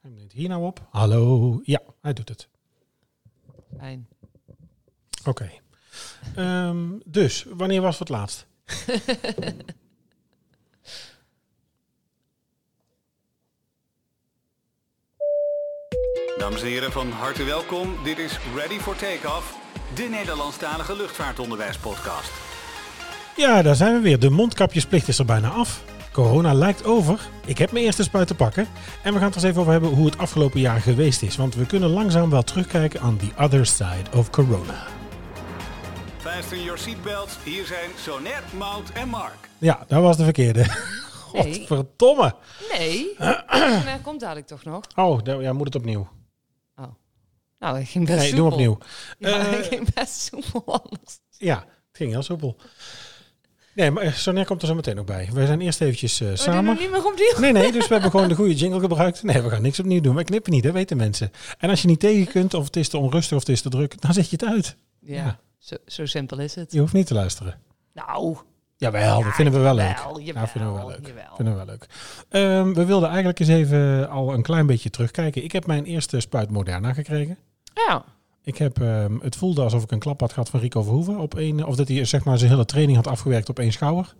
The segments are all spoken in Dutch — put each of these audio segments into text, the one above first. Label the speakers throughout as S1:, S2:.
S1: neemt hier nou op. Hallo. Ja, hij doet het.
S2: Fijn.
S1: Oké. Ehm, dus, wanneer was het laatst?
S3: Dames en heren, van harte welkom. Dit is Ready for Takeoff, de Nederlandstalige luchtvaartonderwijspodcast.
S1: Ja, daar zijn we weer. De mondkapjesplicht is er bijna af. Corona lijkt over. Ik heb mijn eerste spuit te pakken. En we gaan het er eens even over hebben hoe het afgelopen jaar geweest is. Want we kunnen langzaam wel terugkijken aan the other side of corona.
S3: Fasten your seatbelts, hier zijn Sonet, Mout en Mark.
S1: Ja, dat was de verkeerde. Godverdomme.
S2: Nee, maar komt dadelijk toch nog?
S1: Oh, daar- ja, moet het opnieuw.
S2: Oh. Nou, ik ging best
S1: Nee, doe
S2: soepel.
S1: hem opnieuw.
S2: Ja,
S1: Eh,
S2: ik ging best soepel anders. Oh,
S1: Ja, het ging heel soepel. Nee, maar eh, Sonia komt er zo meteen ook bij. Wij zijn eerst eventjes eh,
S2: We doen
S1: samen.
S2: hem niet meer opnieuw.
S1: Nee, nee, dus we hebben gewoon de goede jingle gebruikt. Nee, we gaan niks opnieuw doen. Wij knippen niet, dat weten mensen. En als je niet tegen kunt, of het is te onrustig, of het is te druk, dan zet je het uit.
S2: Ja,
S1: Ja.
S2: Zo, zo simpel is het.
S1: Je hoeft niet te luisteren.
S2: Nou,
S1: Jawel, dat vinden we wel leuk.
S2: jawel,
S1: Ja, dat vinden we wel
S2: jawel,
S1: leuk.
S2: jawel.
S1: Vinden we wel leuk. Ehm, we wilden eigenlijk eens even al een klein beetje terugkijken. Ik heb mijn eerste spuit Moderna gekregen.
S2: ja.
S1: Ik heb, ehm, het voelde alsof ik een klap had gehad van Rico Verhoeven. Op één, of dat hij zeg maar, zijn hele training had afgewerkt op één schouder.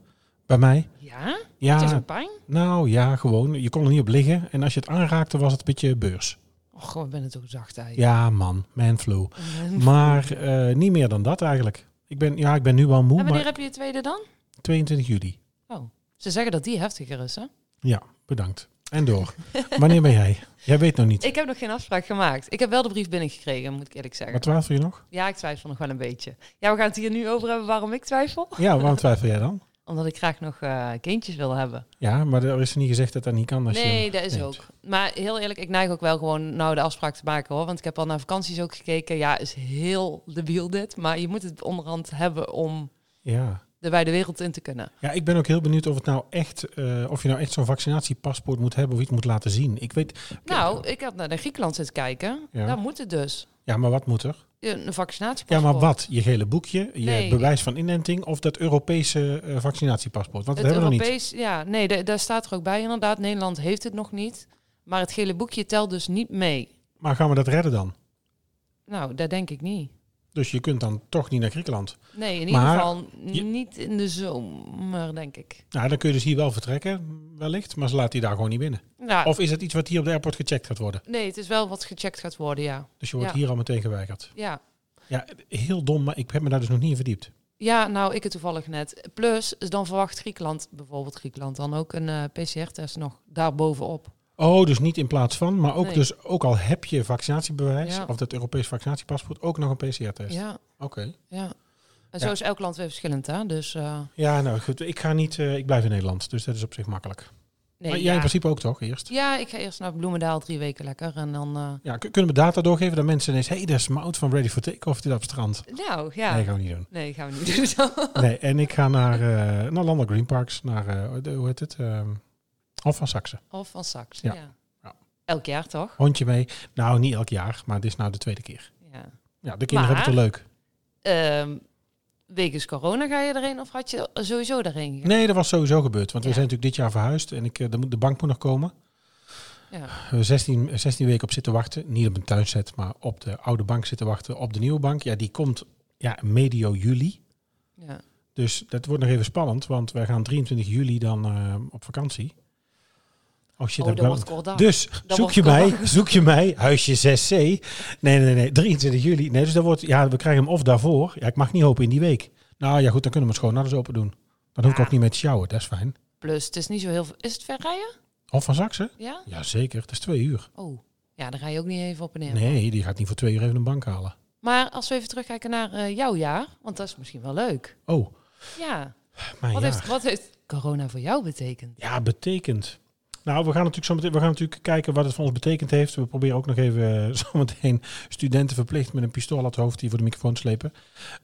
S1: Bij mij.
S2: Ja?
S1: Ja,
S2: Het is een pijn?
S1: nou ja, gewoon. Je kon er niet op liggen. En als je het aanraakte, was het een beetje beurs.
S2: Och, ik ben het ook zacht eigenlijk.
S1: Ja, man. Man flu. Maar eh, niet meer dan dat eigenlijk. Ik ben, ja, ik ben nu wel moe,
S2: En wanneer
S1: maar
S2: heb je je tweede dan?
S1: 22 juli.
S2: Oh, ze zeggen dat die heftiger is, hè?
S1: Ja, bedankt. En door. wanneer ben jij? Jij weet nog niet.
S2: Ik heb nog geen afspraak gemaakt. Ik heb wel de brief binnengekregen, moet ik eerlijk zeggen.
S1: Wat twijfel je nog?
S2: Ja, ik twijfel nog wel een beetje. Ja, we gaan het hier nu over hebben waarom ik twijfel.
S1: Ja, waarom twijfel jij dan?
S2: Omdat ik graag nog eh, kindjes wil hebben.
S1: Ja, maar er is niet gezegd dat dat niet kan. Als je
S2: nee,
S1: hem
S2: dat is
S1: neemt.
S2: ook. Maar heel eerlijk, ik neig ook wel gewoon nou de afspraak te maken hoor. Want ik heb al naar vakanties ook gekeken. Ja, is heel debiel dit. Maar je moet het onderhand hebben om
S1: Ja.
S2: er bij de wereld in te kunnen.
S1: Ja, ik ben ook heel benieuwd of, het nou echt, eh, of je nou echt zo'n vaccinatiepaspoort moet hebben of iets moet laten zien. Ik weet,
S2: Nou, ik had naar de Griekenland zitten kijken.
S1: Ja.
S2: Daar moet het dus.
S1: ja, maar wat moet er?
S2: Een
S1: Ja,
S2: vaccinatiepaspoort.
S1: maar wat? Je gele boekje, je
S2: Nee.
S1: bewijs van inenting of dat Europese eh, vaccinatiepaspoort? Want dat
S2: Het
S1: hebben we nog niet.
S2: Europees, ja, nee, da- daar staat er ook bij inderdaad. Nederland heeft het nog niet. Maar het gele boekje telt dus niet mee.
S1: Maar gaan we dat redden dan?
S2: Nou, dat denk ik niet.
S1: Dus je kunt dan toch niet naar Griekenland.
S2: Nee, in ieder
S1: Maar
S2: geval
S1: je-
S2: niet in de zomer, denk ik.
S1: Nou, dan kun je dus hier wel vertrekken, wellicht, maar ze laat die daar gewoon niet binnen.
S2: Nou,
S1: Of is dat iets wat hier op de airport gecheckt gaat worden?
S2: nee, het is wel wat gecheckt gaat worden, ja.
S1: Dus je wordt
S2: Ja.
S1: hier al meteen geweigerd.
S2: Ja.
S1: Ja, heel dom, maar ik heb me daar dus nog niet in verdiept.
S2: Ja, nou, ik het toevallig net. Plus, dan verwacht Griekenland, bijvoorbeeld Griekenland, dan ook een eh, PCR-test nog daarbovenop.
S1: Oh, dus niet in plaats van, maar ook,
S2: Nee.
S1: dus, ook al heb je vaccinatiebewijs
S2: Ja.
S1: of dat Europees vaccinatiepaspoort, ook nog een PCR-test.
S2: Ja,
S1: Oké.
S2: ja.
S1: Ja.
S2: En zo is elk land weer verschillend, hè? Dus, eh,
S1: Ja, nou goed, ik ga niet, eh, ik blijf in Nederland, dus dat is op zich makkelijk. maar
S2: nee,
S1: jij
S2: ja.
S1: in principe ook toch, eerst?
S2: ja, ik ga eerst naar Bloemendaal drie weken lekker en dan... eh,
S1: Ja, kun- kunnen we data doorgeven dat mensen ineens, hé, hey, dat is Mout van Ready for Takeoff, dit op het strand.
S2: Nou,
S1: Nee,
S2: ja. Nee,
S1: gaan we niet doen.
S2: gaan we niet doen.
S1: Nee, en ik ga naar, eh naar Landal Green Parks, naar, eh, de- hoe heet het, Ehm Hof van Saxe.
S2: of van Sax,
S1: Ja.
S2: ja.
S1: Ja.
S2: Elk jaar toch?
S1: Hondje mee. Nou, niet elk jaar, maar dit is nou de tweede keer.
S2: Ja.
S1: Ja, de kinderen
S2: Maar-
S1: hebben het er leuk.
S2: Ehm, wegens corona ga je erheen of had je sowieso erheen gegaan?
S1: Nee, dat was sowieso gebeurd, want we
S2: Ja.
S1: zijn natuurlijk dit jaar verhuisd en ik, eh, de, de bank moet nog komen.
S2: Ja.
S1: Eh, 16, eh, 16 weken op zitten wachten. Niet op een thuiszet, maar op de oude bank zitten wachten. Op de nieuwe bank. Ja, die komt ja, medio juli.
S2: ja.
S1: Dus dat wordt nog even spannend, want wij gaan 23 juli dan eh, op vakantie. Oh shit,
S2: Oh,
S1: heb ik
S2: dat
S1: wel-
S2: wordt kort dag.
S1: Dus zoek
S2: wordt
S1: je,
S2: kort.
S1: mij, zoek je mij, huisje 6C. Nee, nee, nee, 23 juli. Nee, dus dat wordt, ja, we krijgen hem of daarvoor. Ja, ik mag niet hopen in die week. Nou ja, goed, dan kunnen we het gewoon naar eens open doen. Dan hoef ik
S2: Ja.
S1: ook niet met sjouwen, dat is fijn.
S2: Plus, het is niet zo heel... veel- Is het ver rijden?
S1: Of van Saxen?
S2: Ja?
S1: Jazeker, het is twee uur.
S2: Oh, ja, dan ga je ook niet even op en neer.
S1: Nee, die gaat niet voor twee uur even een bank halen.
S2: Maar als we even terugkijken naar eh, jouw jaar, want dat is misschien wel leuk.
S1: Oh,
S2: Ja,
S1: mijn
S2: wat,
S1: jaar.
S2: Heeft, wat heeft corona voor jou betekend?
S1: Ja, betekent. Nou, we gaan natuurlijk zo meteen, we gaan natuurlijk kijken wat het voor ons betekend heeft. We proberen ook nog even eh, zometeen studenten verplicht met een pistool aan het hoofd die voor de microfoon slepen.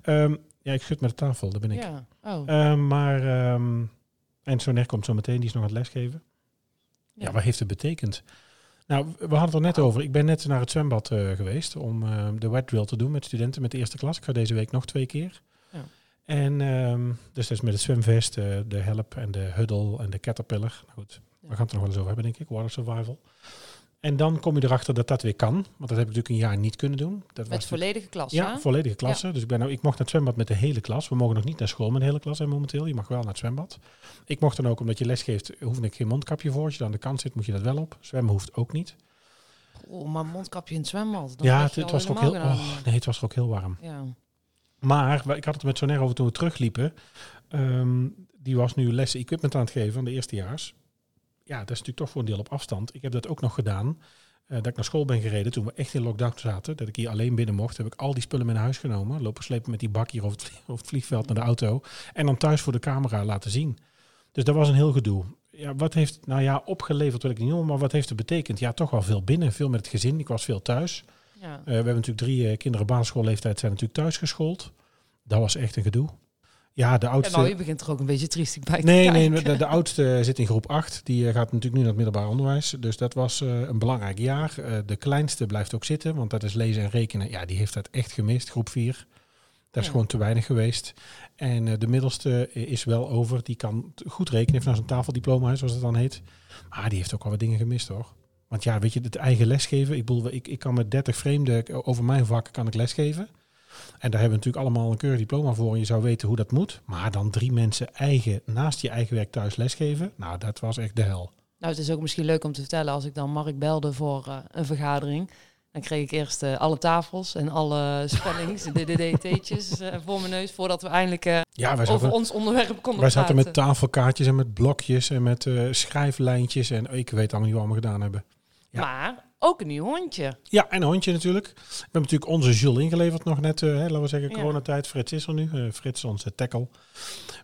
S1: Ehm, ja, ik schud met de tafel, daar ben ik.
S2: Ja, oh.
S1: Ehm, maar, ehm, en Soner komt zo meteen, die is nog aan het lesgeven. Ja. wat heeft het betekend? Nou, we hadden het er net over. Ik ben net naar het zwembad eh, geweest om eh, de wet drill te doen met studenten met de eerste klas. Ik ga deze week nog twee keer.
S2: Ja.
S1: En ehm, dus dat is met het zwemvest, eh, de help en de huddle en de caterpillar. Nou goed, we gaan het er nog wel eens over hebben, denk ik. Water survival. En dan kom je erachter dat dat weer kan. Want dat heb ik natuurlijk een jaar niet kunnen doen. Dat
S2: Met
S1: natuurlijk-
S2: volledige klas,
S1: Ja, volledige klasse. Dus ik, ben nou, ik mocht naar het zwembad met de hele klas. We mogen nog niet naar school met de hele klas hè, momenteel. Je mag wel naar het zwembad. Ik mocht dan ook, omdat je lesgeeft, hoefde ik geen mondkapje voor. Als je dan aan de kant zit, moet je dat wel op. Zwemmen hoeft ook niet.
S2: Oh, maar mondkapje in het zwembad. dan
S1: ja,
S2: krijg
S1: het,
S2: je
S1: het
S2: al
S1: was ook heel,
S2: helemaal
S1: oh, nee, het was er ook heel warm.
S2: geen aan-
S1: Maar wa- ik had het met Soner over toen we terugliepen. Ehm, die was nu lessen equipment aan het geven aan de eerstejaars. Ja, dat is natuurlijk toch voor een deel op afstand. Ik heb dat ook nog gedaan. eh, dat ik naar school ben gereden toen we echt in lockdown zaten. Dat ik hier alleen binnen mocht. Heb ik al die spullen mee naar huis genomen. Lopen slepen met die bak hier over het, vlie- over het vliegveld naar de auto. En dan thuis voor de camera laten zien. Dus dat was een heel gedoe. Ja, wat heeft, nou ja, opgeleverd wil ik niet noemen. Maar wat heeft het betekend? Ja, toch wel veel binnen. Veel met het gezin. Ik was veel thuis.
S2: Ja, ja.
S1: Eh, we hebben natuurlijk drie eh, kinderen basisschoolleeftijd zijn natuurlijk thuis geschoold. Dat was echt een gedoe. Ja, de
S2: Ja,
S1: oudste.
S2: nou, je begint er ook een beetje triestig bij te
S1: nee,
S2: kijken.
S1: nee, de, de oudste zit in groep 8. Die eh, gaat natuurlijk nu naar het middelbaar onderwijs. Dus dat was eh, een belangrijk jaar. Eh, de kleinste blijft ook zitten, want dat is lezen en rekenen. Ja, die heeft dat echt gemist, groep 4. Dat is
S2: Ja.
S1: gewoon te weinig geweest. En eh, de middelste is wel over. Die kan t- goed rekenen, heeft nou zijn tafeldiploma, hè, zoals het dan heet. Maar die heeft ook al wat dingen gemist, hoor. Want ja, weet je, het eigen lesgeven. Ik bedoel, ik, ik kan met 30 vreemden eh, over mijn vak kan ik lesgeven. En daar hebben we natuurlijk allemaal een keurig diploma voor. En je zou weten hoe dat moet. Maar dan drie mensen eigen, naast je eigen werk thuis lesgeven. Nou, dat was echt de hel.
S2: Nou, het is ook misschien leuk om te vertellen als ik dan Mark belde voor eh, een vergadering. Dan kreeg ik eerst eh, alle tafels en alle spellings, DDDT'tjes eh voor mijn neus, voordat we eindelijk eh,
S1: Ja, wij
S2: over
S1: zaten,
S2: ons onderwerp konden
S1: wij zaten met
S2: praten.
S1: tafelkaartjes en met blokjes en met eh, schrijflijntjes. En ik weet allemaal niet wat we allemaal gedaan hebben. ja.
S2: Maar ook een nieuw hondje.
S1: Ja, en een hondje natuurlijk. We hebben natuurlijk onze Jules ingeleverd nog net, eh, hè, laten we zeggen,
S2: Ja.
S1: coronatijd. Frits is er nu, eh, Frits onze tackle.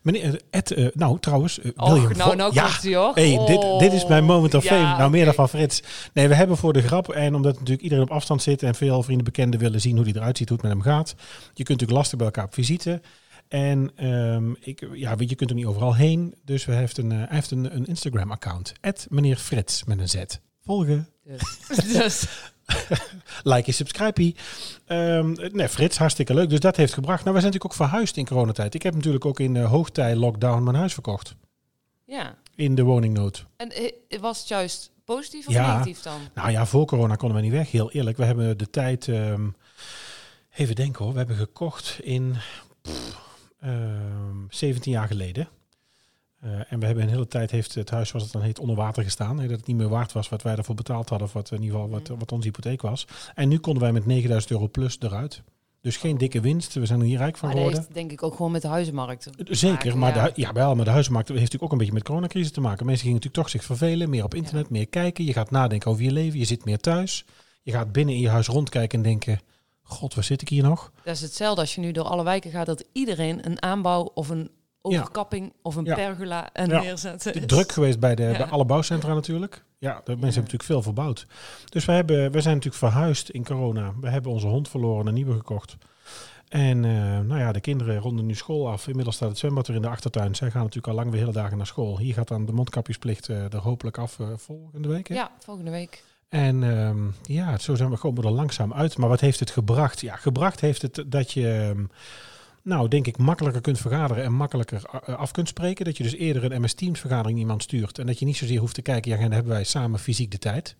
S1: Meneer, eh, Ed, eh, nou trouwens, eh,
S2: Och,
S1: William
S2: nou,
S1: Vo-
S2: nou
S1: ja,
S2: komt hij hoor.
S1: Hey, dit,
S2: Oh,
S1: dit is mijn moment of
S2: ja,
S1: fame. Nou, meer
S2: oké.
S1: dan van Frits. Nee, we hebben voor de grap, en omdat natuurlijk iedereen op afstand zit en veel vrienden bekenden willen zien hoe die eruit ziet, hoe het met hem gaat. Je kunt natuurlijk lastig bij elkaar op visite. En ehm, ik, ja, weet je, je kunt er niet overal heen. Dus we heeft een, eh, hij heeft een, een Instagram-account. meneer Frits met een Z. Volgen.
S2: Dus, dus
S1: Like en subscribe. Ehm nee, Frits, hartstikke leuk. Dus dat heeft gebracht. Nou, wij zijn natuurlijk ook verhuisd in coronatijd. Ik heb natuurlijk ook in eh, hoogtij lockdown mijn huis verkocht.
S2: ja.
S1: In de woningnood.
S2: En eh, was het juist positief of
S1: Ja.
S2: negatief dan?
S1: Nou ja, voor corona konden we niet weg. Heel eerlijk, we hebben de tijd. ehm, even denken hoor. We hebben gekocht in pff, ehm, 17 jaar geleden. Eh, en we hebben een hele tijd heeft het huis, zoals het dan heet, onder water gestaan. Hè, dat het niet meer waard was wat wij daarvoor betaald hadden. Of wat, in ieder geval wat,
S2: Mhm.
S1: wat onze hypotheek was. En nu konden wij met 9000 euro plus eruit. Dus geen dikke winst. We zijn er hier rijk van
S2: Oh. Maar dat
S1: geworden.
S2: heeft denk ik ook gewoon met de huizenmarkt.
S1: Zeker, maar, de,
S2: ja.
S1: hu- ja, wel, maar de huizenmarkt heeft natuurlijk ook een beetje met de coronacrisis te maken. Mensen gingen natuurlijk toch zich vervelen, meer op internet, meer kijken. Je gaat nadenken over je leven, je zit meer thuis. Je gaat binnen in je huis rondkijken en denken, god, waar zit ik hier nog?
S2: Dat is hetzelfde als je nu door alle wijken gaat dat iedereen een aanbouw of een overkapping of een
S1: Ja.
S2: pergola eh, Dus en
S1: Ja.
S2: neerzetten. is.
S1: Druk geweest bij, de,
S2: Ja.
S1: bij alle bouwcentra natuurlijk. Ja, de mensen hebben natuurlijk veel verbouwd. Dus we, hebben, we zijn natuurlijk verhuisd in corona. We hebben onze hond verloren en een nieuwe gekocht. En eh, nou ja, de kinderen ronden nu school af. Inmiddels staat het zwembad weer in de achtertuin. Zij gaan natuurlijk al lang weer hele dagen naar school. Hier gaat dan de mondkapjesplicht eh, er hopelijk af eh, volgende week. hè?
S2: Ja, volgende week.
S1: En ehm, ja, zo zijn we gewoon er langzaam uit. Maar wat heeft het gebracht? Ja, gebracht heeft het dat je, ehm, nou denk ik, makkelijker kunt vergaderen en makkelijker a- eh, af kunt spreken. Dat je dus eerder een MS Teams vergadering iemand stuurt. En dat je niet zozeer hoeft te kijken, ja, dan hebben wij samen fysiek de tijd.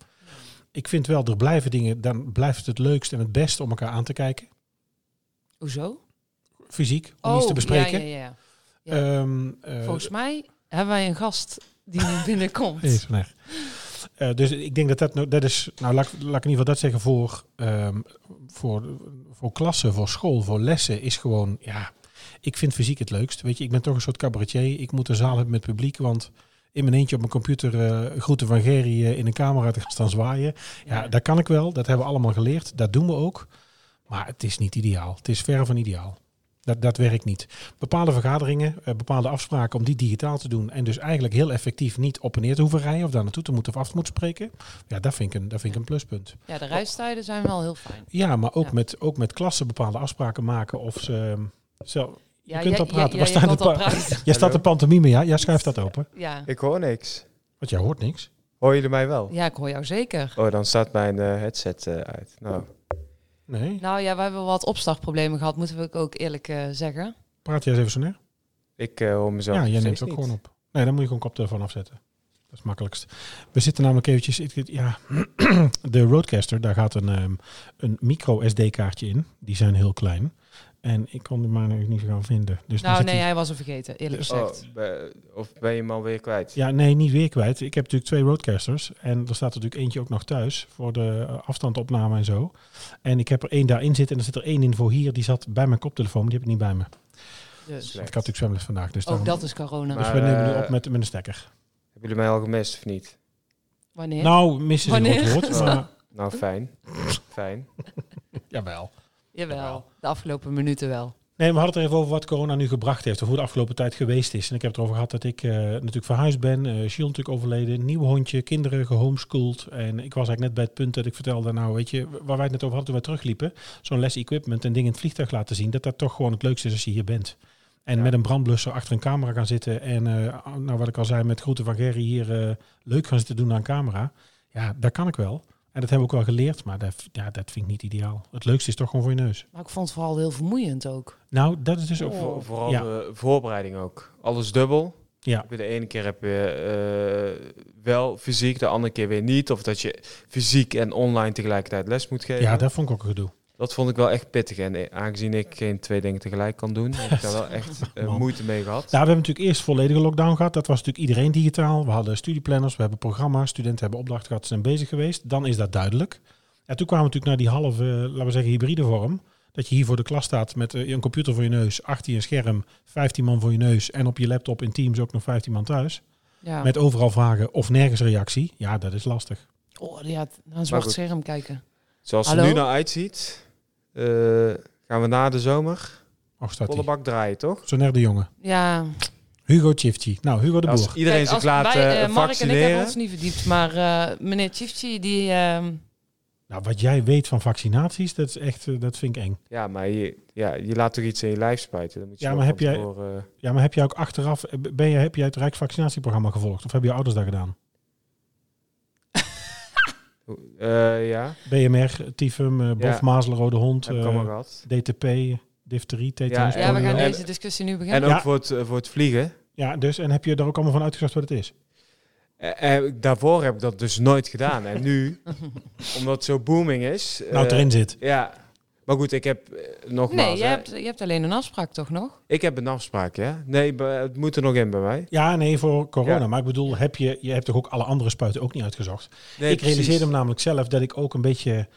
S1: Ik vind wel, er blijven dingen, dan blijft het het leukst en het best om elkaar aan te kijken.
S2: Hoezo?
S1: Fysiek, om iets te bespreken.
S2: Oh, Ja, ja, ja. ja.
S1: Ehm, eh,
S2: Volgens mij hebben wij een gast die nu binnenkomt.
S1: Nee, is van echt. Eh, dus ik denk dat dat, nou- dat is, nou laat, ik- laat ik in ieder geval dat zeggen, voor, ehm, voor, voor klassen, voor school, voor lessen is gewoon, ja, ik vind fysiek het leukst. Weet je, ik ben toch een soort cabaretier, ik moet een zaal hebben met publiek, want in mijn eentje op mijn computer eh groeten van Gerry eh, in een camera te gaan staan zwaaien, ja, dat kan ik wel, dat hebben we allemaal geleerd, dat doen we ook. Maar het is niet ideaal, het is verre van ideaal. Dat, dat werkt niet. Bepaalde vergaderingen, eh, bepaalde afspraken om die digitaal te doen. En dus eigenlijk heel effectief niet op en neer te hoeven rijden of daar naartoe te moeten of af te moeten spreken. Ja, dat vind ik een, dat vind ik een pluspunt.
S2: Ja, de reistijden zijn wel heel fijn.
S1: Ja, maar ook,
S2: Ja.
S1: Met, ook met klassen bepaalde afspraken maken of ze. ehm, Zo,
S2: Ja,
S1: kunt
S2: jij-
S1: al praten,
S2: Ja,
S1: waar
S2: ja,
S1: staan de
S2: je kan al
S1: pa-
S2: praten.
S1: jij staat de pantomime, ja? Jij schuift dat open.
S2: Ja.
S4: Ik hoor niks.
S1: Want jij hoort niks.
S4: Hoor jullie mij wel?
S2: ja, ik hoor jou zeker.
S4: Oh, dan staat mijn eh, headset eh, uit. Nou,
S1: Nee.
S2: Nou ja, we hebben wat opstartproblemen gehad, moeten we ook eerlijk eh, zeggen.
S1: Praat jij eens even zo neer?
S4: ik eh, hoor mezelf.
S1: Ja, jij
S4: nog
S1: neemt
S4: steeds
S1: het ook gewoon
S4: niet.
S1: op. Nee, dan moet je gewoon koptelefoon afzetten. Dat is het makkelijkst. We zitten namelijk eventjes... ik- ik- Ja, de Roadcaster, daar gaat een, ehm, een micro SD-kaartje in. Die zijn heel klein. En ik kon die maar nu niet gaan vinden. Dus dan
S2: nou,
S1: zit
S2: nee,
S1: die-
S2: hij was hem vergeten, eerlijk gezegd.
S4: Oh, ben- of ben je hem alweer kwijt?
S1: Ja, nee, niet weer kwijt. Ik heb natuurlijk twee roadcasters. En er staat er natuurlijk eentje ook nog thuis voor de eh, afstandopname en zo. En ik heb er één daarin zitten en er zit er één in voor hier. Die zat bij mijn koptelefoon, maar die heb ik niet bij me.
S2: Dus.
S4: Slecht.
S1: Ik had natuurlijk zwemles vandaag. Dus,
S2: Ook
S1: daarom-
S2: Oh, dat is corona.
S1: dus
S4: Maar-
S1: we nemen nu
S4: eh,
S1: op met, met een stekker.
S4: Hebben jullie mij al gemist of niet?
S2: Wanneer?
S1: Nou, missen is een
S2: Wanneer?
S1: goed woord.
S4: Ja.
S1: Maar,
S4: Nou, fijn. fijn.
S1: jawel.
S2: Jawel, de afgelopen minuten wel.
S1: Nee, we hadden het er even over wat corona nu gebracht heeft. Of hoe de afgelopen tijd geweest is. En ik heb het erover gehad dat ik eh, natuurlijk verhuisd ben. eh Shield natuurlijk overleden. Een nieuw hondje. Kinderen gehomeschoold. En ik was eigenlijk net bij het punt dat ik vertelde. Nou, weet je, waar wij het net over hadden toen we terugliepen. Zo'n les equipment en dingen in het vliegtuig laten zien. Dat dat toch gewoon het leukste is als je hier bent. En
S4: Ja.
S1: met een brandblusser achter een camera gaan zitten. En eh, nou, wat ik al zei, met groeten van Gerry hier eh, leuk gaan zitten doen aan camera. Ja, dat kan ik wel. En dat hebben we ook wel geleerd. Maar dat, ja, dat vind ik niet ideaal. Het leukste is toch gewoon voor je neus.
S2: Maar ik vond het vooral heel vermoeiend ook.
S1: Nou, dat is dus ook...
S4: Vo- Oh, vooral
S1: ja.
S4: de voorbereiding ook. Alles dubbel.
S1: Ja.
S4: Heb je De ene keer heb je eh, wel fysiek, de andere keer weer niet. Of dat je fysiek en online tegelijkertijd les moet geven.
S1: Ja, dat vond ik ook een gedoe.
S4: Dat vond ik wel echt pittig. En eh, aangezien ik geen twee dingen tegelijk kan doen, heb ik daar wel echt eh,
S1: Man.
S4: moeite mee gehad.
S1: Nou, we hebben natuurlijk eerst volledige lockdown gehad. Dat was natuurlijk iedereen digitaal. We hadden studieplanners, we hebben programma's. Studenten hebben opdracht gehad, ze zijn bezig geweest. Dan is dat duidelijk. En toen kwamen we natuurlijk naar die halve, eh, laten we zeggen, hybride vorm. Dat je hier voor de klas staat met eh, een computer voor je neus, achter je scherm, 15 man voor je neus en op je laptop in Teams ook nog 15 man thuis.
S2: Ja,
S1: Met overal vragen of nergens reactie. Ja, dat is lastig.
S2: oh, ja t- naar een zwart
S4: goed.
S2: scherm kijken.
S4: Zoals
S2: Hallo?
S4: het nu nou uitziet, eh, gaan we na de zomer
S1: Och, staat
S4: volle
S1: hij.
S4: bak draaien, toch?
S1: Zo naar de jongen.
S2: Ja,
S1: Hugo Chifchi. Nou, Hugo de
S4: Als
S1: Boer.
S4: iedereen
S2: Kijk,
S4: zich
S2: als-
S4: laat
S2: wij,
S4: eh,
S2: eh, Mark en ik hebben
S4: vaccineren.
S2: ons niet verdiept, maar eh, meneer Chifchi, die... ehm,
S1: Nou, wat jij weet van vaccinaties, dat is echt, eh, dat vind ik eng.
S4: Ja, maar je, ja, je laat toch iets in je lijf spuiten. Dan moet je
S1: Ja,
S4: wel
S1: maar heb
S4: van
S1: jij-
S4: tevoren, eh,
S1: Ja, maar heb jij ook achteraf, eh, ben je, heb jij het Rijksvaccinatieprogramma gevolgd? Of hebben je ouders dat gedaan?
S4: hoe- eh, ja,
S1: BMR, tyfum, eh bof,
S4: Ja.
S1: mazelen, rode hond,
S4: heb ik allemaal
S1: eh,
S4: gehad.
S1: DTP, difterie, tetanus.
S4: Ja,
S2: ja, we
S1: polio.
S2: gaan
S4: en-
S2: deze discussie nu
S4: En
S2: beginnen.
S4: ook
S1: Ja.
S4: voor, het, eh, voor het vliegen.
S1: Ja, dus, en heb je daar ook allemaal van uitgezocht wat het is?
S4: Eh, eh, daarvoor heb ik dat dus nooit gedaan. En nu, omdat het zo booming is...
S1: nou, het
S4: eh,
S1: erin zit.
S4: Ja, maar goed, ik heb eh, nogmaals...
S2: nee, je
S4: hè,
S2: hebt, je hebt alleen een afspraak toch nog?
S4: Ik heb een afspraak, ja. Nee, be- het moet er nog in bij mij.
S1: Ja, nee, voor corona.
S4: Ja.
S1: Maar ik bedoel, heb je, je hebt toch ook alle andere spuiten ook niet uitgezocht?
S4: Nee,
S1: ik realiseerde me
S4: precies.
S1: namelijk zelf dat ik ook een beetje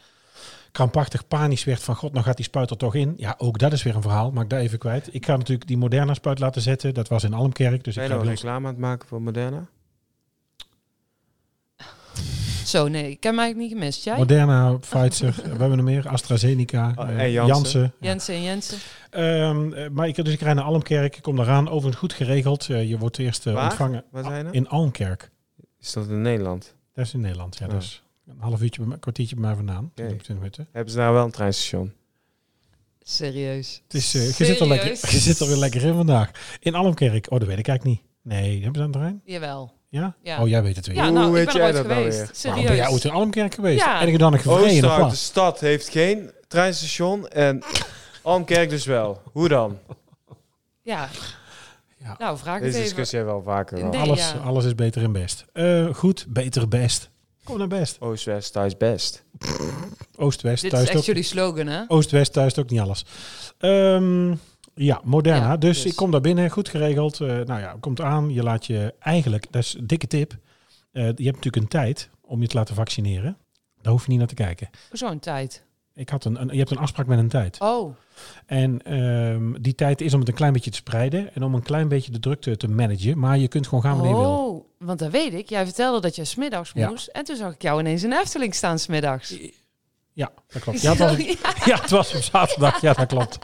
S1: krampachtig panisch werd van god, nou gaat die spuit er toch in. Ja, ook dat is weer een verhaal, maar ik daar even kwijt. Ik ga natuurlijk die Moderna spuit laten zetten. Dat was in Almkerk, dus
S4: Ben
S1: ik
S4: je
S1: ga
S4: nou
S1: bij ons-
S4: reclame aan het maken voor Moderna?
S2: Zo, nee, ik heb hem eigenlijk niet gemist. Jij?
S1: Moderna, Pfizer, we hebben er meer, AstraZeneca,
S4: Oh,
S1: eh,
S4: en Janssen.
S1: Janssen.
S2: Jensen en Jensen.
S1: Ehm, eh, maar ik, dus ik rij naar Almkerk, ik kom daaraan, overigens goed geregeld. Eh, je wordt eerst eh,
S4: Waar?
S1: ontvangen
S4: Waar zijn er?
S1: in Almkerk.
S4: Is dat in Nederland?
S1: Dat is in Nederland, ja,
S4: Oh.
S1: dat is een half uurtje, bij mij- een kwartiertje bij mij vandaan.
S4: Oké.
S1: 20 minuten.
S4: Hebben ze daar wel een treinstation?
S2: Serieus.
S1: Het is, eh, je, zit er lekker,
S2: Serieus?
S1: je zit er weer lekker in vandaag. In Almkerk, oh dat weet ik eigenlijk niet. Nee, hebben ze aan het terrein?
S2: Jawel.
S1: Ja?
S2: Ja.
S1: Oh, jij weet het weer.
S2: Ja,
S4: Hoe
S2: nou,
S4: weet
S2: ik ben
S4: jij
S2: er ooit
S4: dat nou
S2: geweest.
S4: weer?
S1: Waarom ben jij ooit
S2: Serieus.
S1: in Almkerk geweest?
S2: Ja.
S1: En ik dan een gevreden of
S4: Oosterhout, de
S1: wat?
S4: stad, heeft geen treinstation en Almkerk dus wel. Hoe dan?
S2: Ja.
S1: Ja.
S2: Nou, vraag het
S4: Deze
S2: even.
S4: discussie hebben we al vaker
S2: Nee.
S4: gehad.
S1: Alles,
S2: ja.
S1: alles is beter en best. Eh, goed, beter best. Kom naar best.
S4: Oost-West, thuis best.
S1: Oost-West,
S2: Dit is
S1: thuis
S2: echt
S1: ook.
S2: jullie slogan, hè?
S1: Oost-West, thuis ook niet alles. Ehm, ja, Moderna.
S2: Ja,
S1: dus,
S2: dus.
S1: ik kom daar binnen, goed geregeld. Eh, nou ja, komt aan. Je laat je eigenlijk, dat is een dikke tip. Eh, je hebt natuurlijk een tijd om je te laten vaccineren. Daar hoef je niet naar te kijken.
S2: Zo'n tijd.
S1: Ik had een, een, je hebt een afspraak met een tijd.
S2: Oh,
S1: En ehm, die tijd is om het een klein beetje te spreiden en om een klein beetje de drukte te managen. Maar je kunt gewoon gaan wanneer je wil.
S2: oh. want dat weet ik. Jij vertelde dat je smiddags
S1: Ja.
S2: moest. En toen zag ik jou ineens in de Efteling staan smiddags.
S1: Ja, dat klopt. Ja, het was, ja, het was op zaterdag. Ja, dat klopt.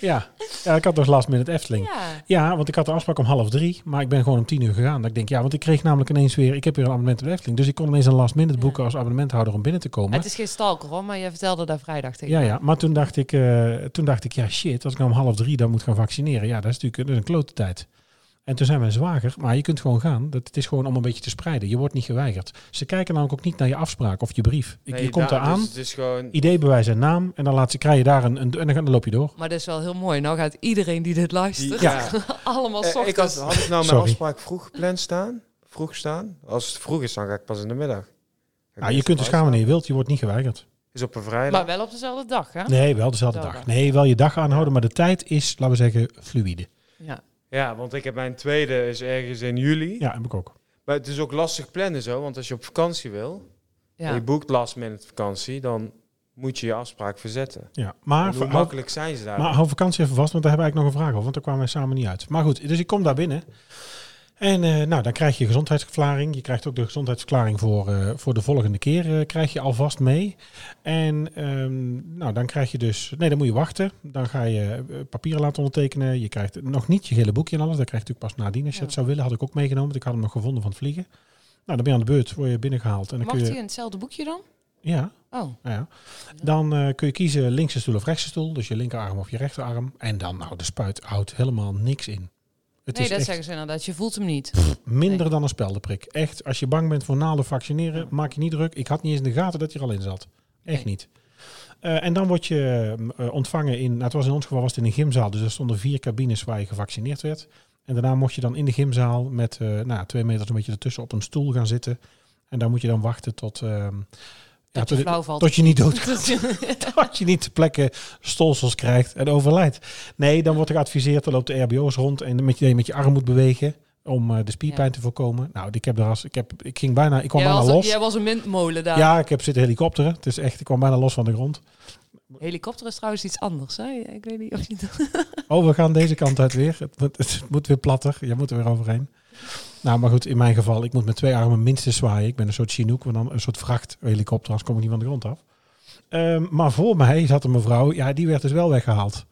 S1: Ja, ja ik had nog last minute Efteling.
S2: ja.
S1: Ja, want ik had de afspraak om half drie, maar ik ben gewoon om tien uur gegaan. Dat ik denk, ja, want ik kreeg namelijk ineens weer, ik heb weer een abonnement op de Efteling. Dus ik kon ineens een last minute boeken als abonnementhouder om binnen te komen.
S2: Het is geen stalker hoor, maar jij vertelde daar vrijdag tegen.
S1: Ja,
S2: mij.
S1: ja, maar toen dacht, ik, eh, toen dacht ik, ja shit, als ik nou om half drie dan moet gaan vaccineren, ja, dat is natuurlijk dat is een klote tijd. En toen zei mijn zwager, maar je kunt gewoon gaan. Dat, het is gewoon om een beetje te spreiden. Je wordt niet geweigerd. Ze kijken namelijk ook niet naar je afspraak of je brief. Ik- je
S4: Nee,
S1: komt
S4: daar-
S1: daar aan,
S4: Dus, dus gewoon...
S1: ID-bewijs en naam, en dan laat ze, krijg je daar een, een en dan, ga- dan loop je door.
S2: Maar dat is wel heel mooi. Nou gaat iedereen die dit luistert,
S4: Ja.
S2: allemaal
S4: Eh,
S2: ochtends.
S4: ik had, had ik nou mijn
S1: Sorry.
S4: afspraak vroeg gepland staan? vroeg staan? Als het vroeg is, dan ga ik pas in de middag. Ga ik
S1: Nou, je
S4: eerst
S1: kunt dus
S4: erbij
S1: gaan wanneer je
S4: staan.
S1: wilt, je wordt niet geweigerd.
S4: Is op een vrijdag.
S2: Maar wel op dezelfde dag, hè?
S1: Nee, wel dezelfde
S2: Dezelfde
S1: dag.
S2: dag.
S1: Nee, wel je dag aanhouden, maar de tijd is, laten we zeggen, fluïde.
S2: Ja.
S4: Ja, want ik heb mijn tweede is ergens in juli.
S1: Ja, heb ik ook.
S4: Maar het is ook lastig plannen zo, want als je op vakantie wil, en
S2: Ja.
S4: je boekt last minute vakantie, dan moet je je afspraak verzetten.
S1: Ja.
S4: En
S1: Maar,
S4: hoe
S1: hou,
S4: makkelijk zijn ze daar?
S1: maar hou vakantie even vast, want daar hebben we eigenlijk nog een vraag over, want daar kwamen wij samen niet uit. Maar goed, dus ik kom daar binnen. En eh, nou, dan krijg je een gezondheidsverklaring. Je krijgt ook de gezondheidsverklaring voor, eh, voor de volgende keer eh, krijg je alvast mee. En ehm, nou, dan krijg je dus... Nee, dan moet je wachten. Dan ga je eh, papieren laten ondertekenen. Je krijgt nog niet je gele boekje en alles. Dat krijg je natuurlijk pas nadien. Als je
S2: Ja.
S1: dat zou willen, had ik ook meegenomen. Want ik had hem nog gevonden van het vliegen. Nou, dan ben je aan de beurt. Word je binnengehaald. En dan
S2: Mag
S1: kun
S2: die
S1: je...
S2: in hetzelfde boekje dan?
S1: Ja,
S2: Oh,
S1: nou ja. Dan eh, kun je kiezen linkse stoel of rechtse stoel. Dus je linkerarm of je rechterarm. En dan, nou, de spuit houdt helemaal niks in. Het
S2: nee,
S1: is
S2: dat
S1: echt
S2: zeggen ze inderdaad. Je voelt hem niet.
S1: minder
S2: nee.
S1: dan een speldenprik. Echt, als je bang bent voor naalden vaccineren, maak je niet druk. Ik had niet eens in de gaten dat je er al in zat. Echt
S2: Nee.
S1: niet. Eh, en dan word je mm, eh, ontvangen in, nou, het was in ons geval was het in een gymzaal. Dus er stonden vier cabines waar je gevaccineerd werd. En daarna mocht je dan in de gymzaal met eh, nou, twee meter een beetje ertussen op een stoel gaan zitten. En daar moet je dan wachten tot... ehm, ja,
S2: Dat
S1: tot
S2: je
S1: het-
S2: flauw valt.
S1: tot je niet dood
S2: dood
S1: dat je niet te plekken stolsels krijgt en overlijdt. Nee, dan wordt er geadviseerd, dan loopt de RBO's rond en met je, met je arm moet bewegen om eh, de spierpijn
S2: Ja.
S1: te voorkomen. Nou, ik heb er als, ik heb, ik ging bijna, ik kwam
S2: jij,
S1: bijna
S2: was,
S1: los.
S2: jij was een windmolen daar.
S1: Ja, ik heb zitten helikopteren. Het is echt, ik kwam bijna los van de grond.
S2: Helikopter is trouwens iets anders. Hè? Ik weet niet of je dat...
S1: Oh, we gaan deze kant uit weer. Het moet, het moet weer platter. Je moet er weer overheen. Nou, maar goed, in mijn geval, ik moet met twee armen minstens zwaaien. Ik ben een soort Chinook, maar dan een soort vrachthelikopter, anders kom ik niet van de grond af. Ehm, maar voor mij zat een mevrouw, ja, die werd dus wel weggehaald.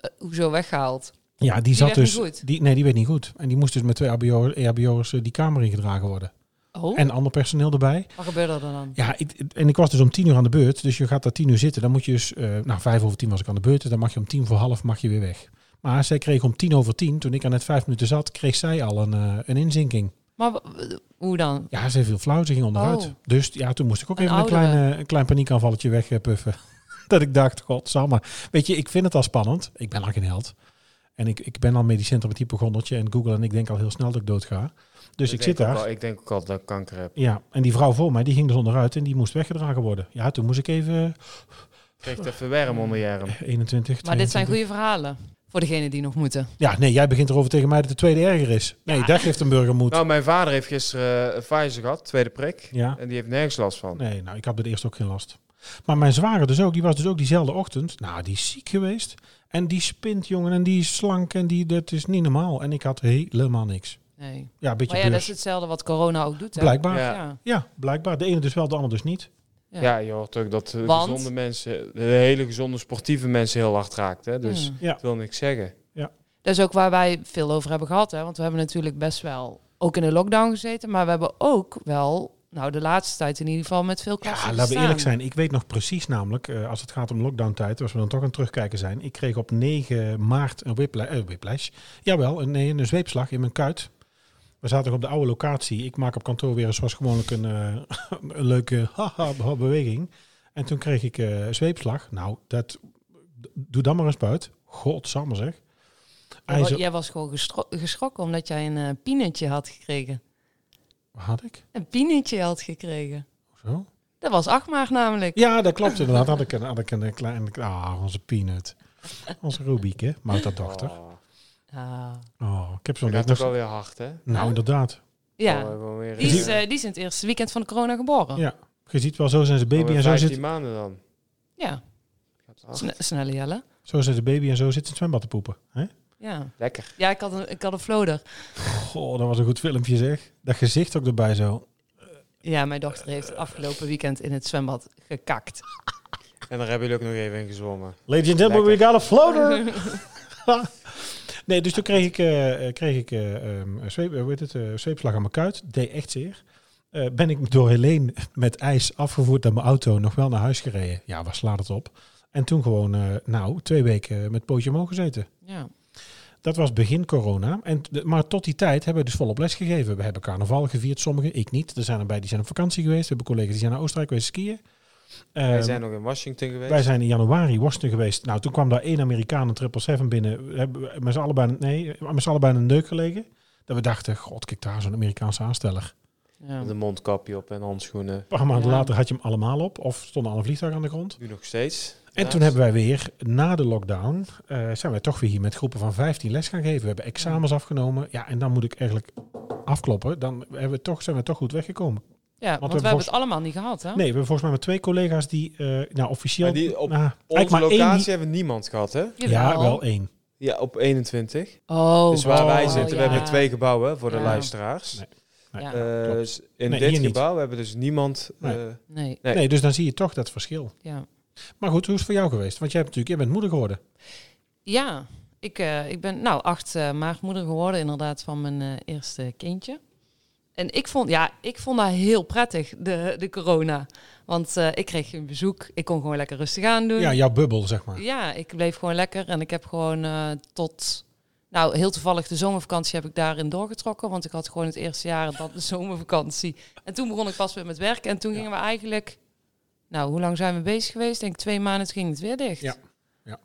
S2: Eh, hoezo weggehaald?
S1: Ja, die, zat
S2: werd niet
S1: dus.
S2: goed?
S1: Die, nee, die werd niet goed. En die moest dus met twee ABO'ers EHBO'ers, eh, die kamer ingedragen worden.
S2: Oh,
S1: En ander personeel erbij.
S2: wat gebeurde er dan?
S1: Ja, ik, en ik was dus om tien uur aan de beurt. Dus je gaat daar tien uur zitten. Dan moet je dus. eh, nou, vijf over tien was ik aan de beurt. Dus dan mag je om tien voor half mag je weer weg. Maar zij kreeg om tien over tien, toen ik er net vijf minuten zat, kreeg zij al een, eh, een inzinking.
S2: Maar w- w- hoe dan?
S1: Ja, ze viel flauw, ze ging onderuit.
S2: Oh.
S1: Dus ja, toen moest ik ook
S2: Een
S1: even een
S2: oudere.
S1: klein, eh, een klein paniekaanvalletje wegpuffen. dat ik dacht, godsamme. Weet je, ik vind het al spannend. Ik ben al geen held. En ik, ik ben al medisch centrum met hypochondertje en Google en ik denk al heel snel dat ik dood ga. Dus ik
S4: denk
S1: zit daar.
S4: ook al- ik denk ook al dat ik kanker heb.
S1: Ja, en die vrouw voor mij, die ging dus onderuit en die moest weggedragen worden. Ja, toen moest ik even
S4: Ik Kreeg even werm onder je arm.
S1: eh, 21,
S2: Maar dit zijn
S1: 22.
S2: goede verhalen. Voor degenen die nog moeten.
S1: Ja, nee, jij begint erover tegen mij dat de tweede erger is. Nee, dat geeft een burger moed.
S4: Nou, mijn vader heeft gisteren eh, Pfizer gehad, tweede prik.
S1: ja.
S4: En die heeft nergens last van.
S1: Nee, nou, ik had bij de eerste ook geen last. Maar mijn zwager dus ook, die was dus ook diezelfde ochtend. Nou, die is ziek geweest. En die spint, jongen, en die is slank en die, dat is niet normaal. En ik had helemaal niks.
S2: Nee.
S1: Ja, een beetje
S2: Maar ja, dat
S1: beurs.
S2: is hetzelfde wat corona ook doet. Hè?
S1: Blijkbaar. Ja.
S4: Ja.
S2: Ja.
S1: blijkbaar. De ene dus wel, de ander dus niet.
S4: Ja.
S2: Ja.
S4: je hoort ook dat eh,
S2: Want?
S4: gezonde mensen, de hele gezonde sportieve mensen heel hard raakt. Hè? Dus
S2: Hmm.
S1: Ja.
S4: dat wil niks zeggen.
S2: Dat is ook waar wij veel over hebben gehad. Hè? Want we hebben natuurlijk best wel ook in de lockdown gezeten. Maar we hebben ook wel, nou de laatste tijd in ieder geval, met veel
S1: Ja,
S2: klassen
S1: laten we
S2: gestaan.
S1: eerlijk zijn. Ik weet nog precies namelijk, eh, als het gaat om lockdowntijd, als we dan toch aan het terugkijken zijn. Ik kreeg op 9 maart een whipla- eh, whiplash. Jawel, een, nee, een zweepslag in mijn kuit. We zaten nog op de oude locatie. Ik maak op kantoor weer zoals gewoonlijk een, eh, een leuke haha beha- beweging. En toen kreeg ik eh, zweepslag. Nou, dat, doe dan maar een spuit. Godsamme zeg.
S2: Jij wa-
S1: IJzer,
S2: Jij was gewoon gestro- geschrokken omdat jij een eh pienetje had gekregen.
S1: Wat had ik?
S2: Een pienetje had gekregen.
S1: Zo?
S2: Dat was 8 maart namelijk.
S1: Ja, dat klopt inderdaad. Had ik een, had ik een klein... Ah, onze peanut. Onze Rubieke, mouterdochter.
S4: Oh,
S2: Ah.
S1: Oh, ik heb zo'n
S4: dat
S1: week nog...
S4: gaat ook wel weer hard, hè?
S1: Nou, inderdaad.
S4: Oh,
S2: Ja,
S4: gewoon weer,
S2: die is,
S4: eh,
S2: eh, die is in het eerste weekend van de corona geboren.
S1: Ja. Je ziet wel, zo zijn ze baby
S4: alweer
S1: en zo
S4: 15
S1: zit,
S4: maanden dan.
S2: Ja,
S4: Gaat hard.
S2: sne- snelle Jelle.
S1: zo zijn ze baby en zo zit ze in het zwembad te poepen. Hè?
S2: Ja,
S4: Lekker.
S2: ja ik, had een, ik had een floder.
S1: Goh, dat was een goed filmpje zeg. Dat gezicht ook erbij zo.
S2: Ja, mijn dochter heeft afgelopen weekend in het zwembad gekakt.
S4: En daar hebben jullie ook nog even in gezwommen.
S1: Ladies and gentlemen,
S4: Lekker.
S1: we got a floater! nee, dus toen kreeg ik, eh, kreeg ik eh, ehm, een zweep, eh, hoe heet het, eh, zweepslag aan mijn kuit. Deed echt zeer. Eh, ben ik door Helene met ijs afgevoerd naar mijn auto. Nog wel naar huis gereden. Ja, waar slaat het op? En toen gewoon, eh, nou, twee weken met pootje omhoog gezeten.
S2: Ja.
S1: Dat was begin corona. En, t- maar tot die tijd hebben we dus volop les gegeven. We hebben carnaval gevierd, sommigen, ik niet. Er zijn er bij die zijn op vakantie geweest. We hebben collega's die zijn naar Oostenrijk geweest skiën.
S4: Wij
S1: Ehm,
S4: zijn nog in Washington geweest.
S1: wij zijn in januari Washington geweest. Nou, toen kwam daar één Amerikaan een 777 binnen. We hebben met z'n allen bijna, nee, met z'n allen bijna een neuk gelegen. Dat we dachten, god, kijk daar, zo'n Amerikaanse aansteller.
S2: Ja.
S4: Met een mondkapje op en handschoenen.
S1: Een paar maanden
S2: Ja.
S1: later had je hem allemaal op. Of stonden al een vliegtuig aan de grond.
S4: Nu nog steeds.
S1: En toen hebben wij weer, na de lockdown, eh, zijn wij toch weer hier met groepen van 15 les gaan geven. We hebben examens afgenomen. Ja, en dan moet ik eigenlijk afkloppen. Dan hebben we toch, zijn we toch goed weggekomen.
S2: Ja, want,
S1: we
S2: we hebben
S1: volgens-
S2: het allemaal niet gehad, hè?
S1: Nee, we hebben volgens mij met twee collega's die, eh, nou officieel...
S4: Maar die op
S1: nou, eigenlijk
S4: Onze
S1: maar één
S4: locatie
S1: die-
S4: hebben we niemand gehad, hè?
S2: Jawel.
S1: ja, wel één.
S4: Ja, op 21.
S2: Oh,
S4: dus waar
S1: oh,
S4: wij zitten,
S1: ja.
S4: we hebben twee gebouwen voor de
S2: Ja.
S4: luisteraars.
S1: Nee,
S2: Ja.
S1: Nee.
S4: Eh,
S1: klopt.
S4: dus in
S1: Nee,
S4: dit
S1: hier niet.
S4: gebouw hebben we dus niemand. eh,
S1: Nee.
S2: Nee,
S4: Nee.
S1: Nee, dus dan zie je toch dat verschil.
S2: ja.
S1: Maar goed, hoe is het voor jou geweest? Want jij, hebt natuurlijk, jij bent moeder geworden.
S2: Ja, ik, eh, ik ben nou 8 maart moeder geworden inderdaad van mijn eh, eerste kindje. En ik vond, ja, ik vond dat heel prettig, de, de corona. Want eh, ik kreeg geen bezoek. Ik kon gewoon lekker rustig aan doen.
S1: Ja, jouw bubbel, zeg maar.
S2: Ja, ik bleef gewoon lekker en ik heb gewoon eh, tot, nou heel toevallig de zomervakantie heb ik daarin doorgetrokken, want ik had gewoon het eerste jaar dat de zomervakantie. En toen begon ik pas weer met werk en toen gingen we eigenlijk, nou hoe lang zijn we bezig geweest? Denk ik twee maanden, toen ging het weer dicht.
S1: Ja, ja, ja.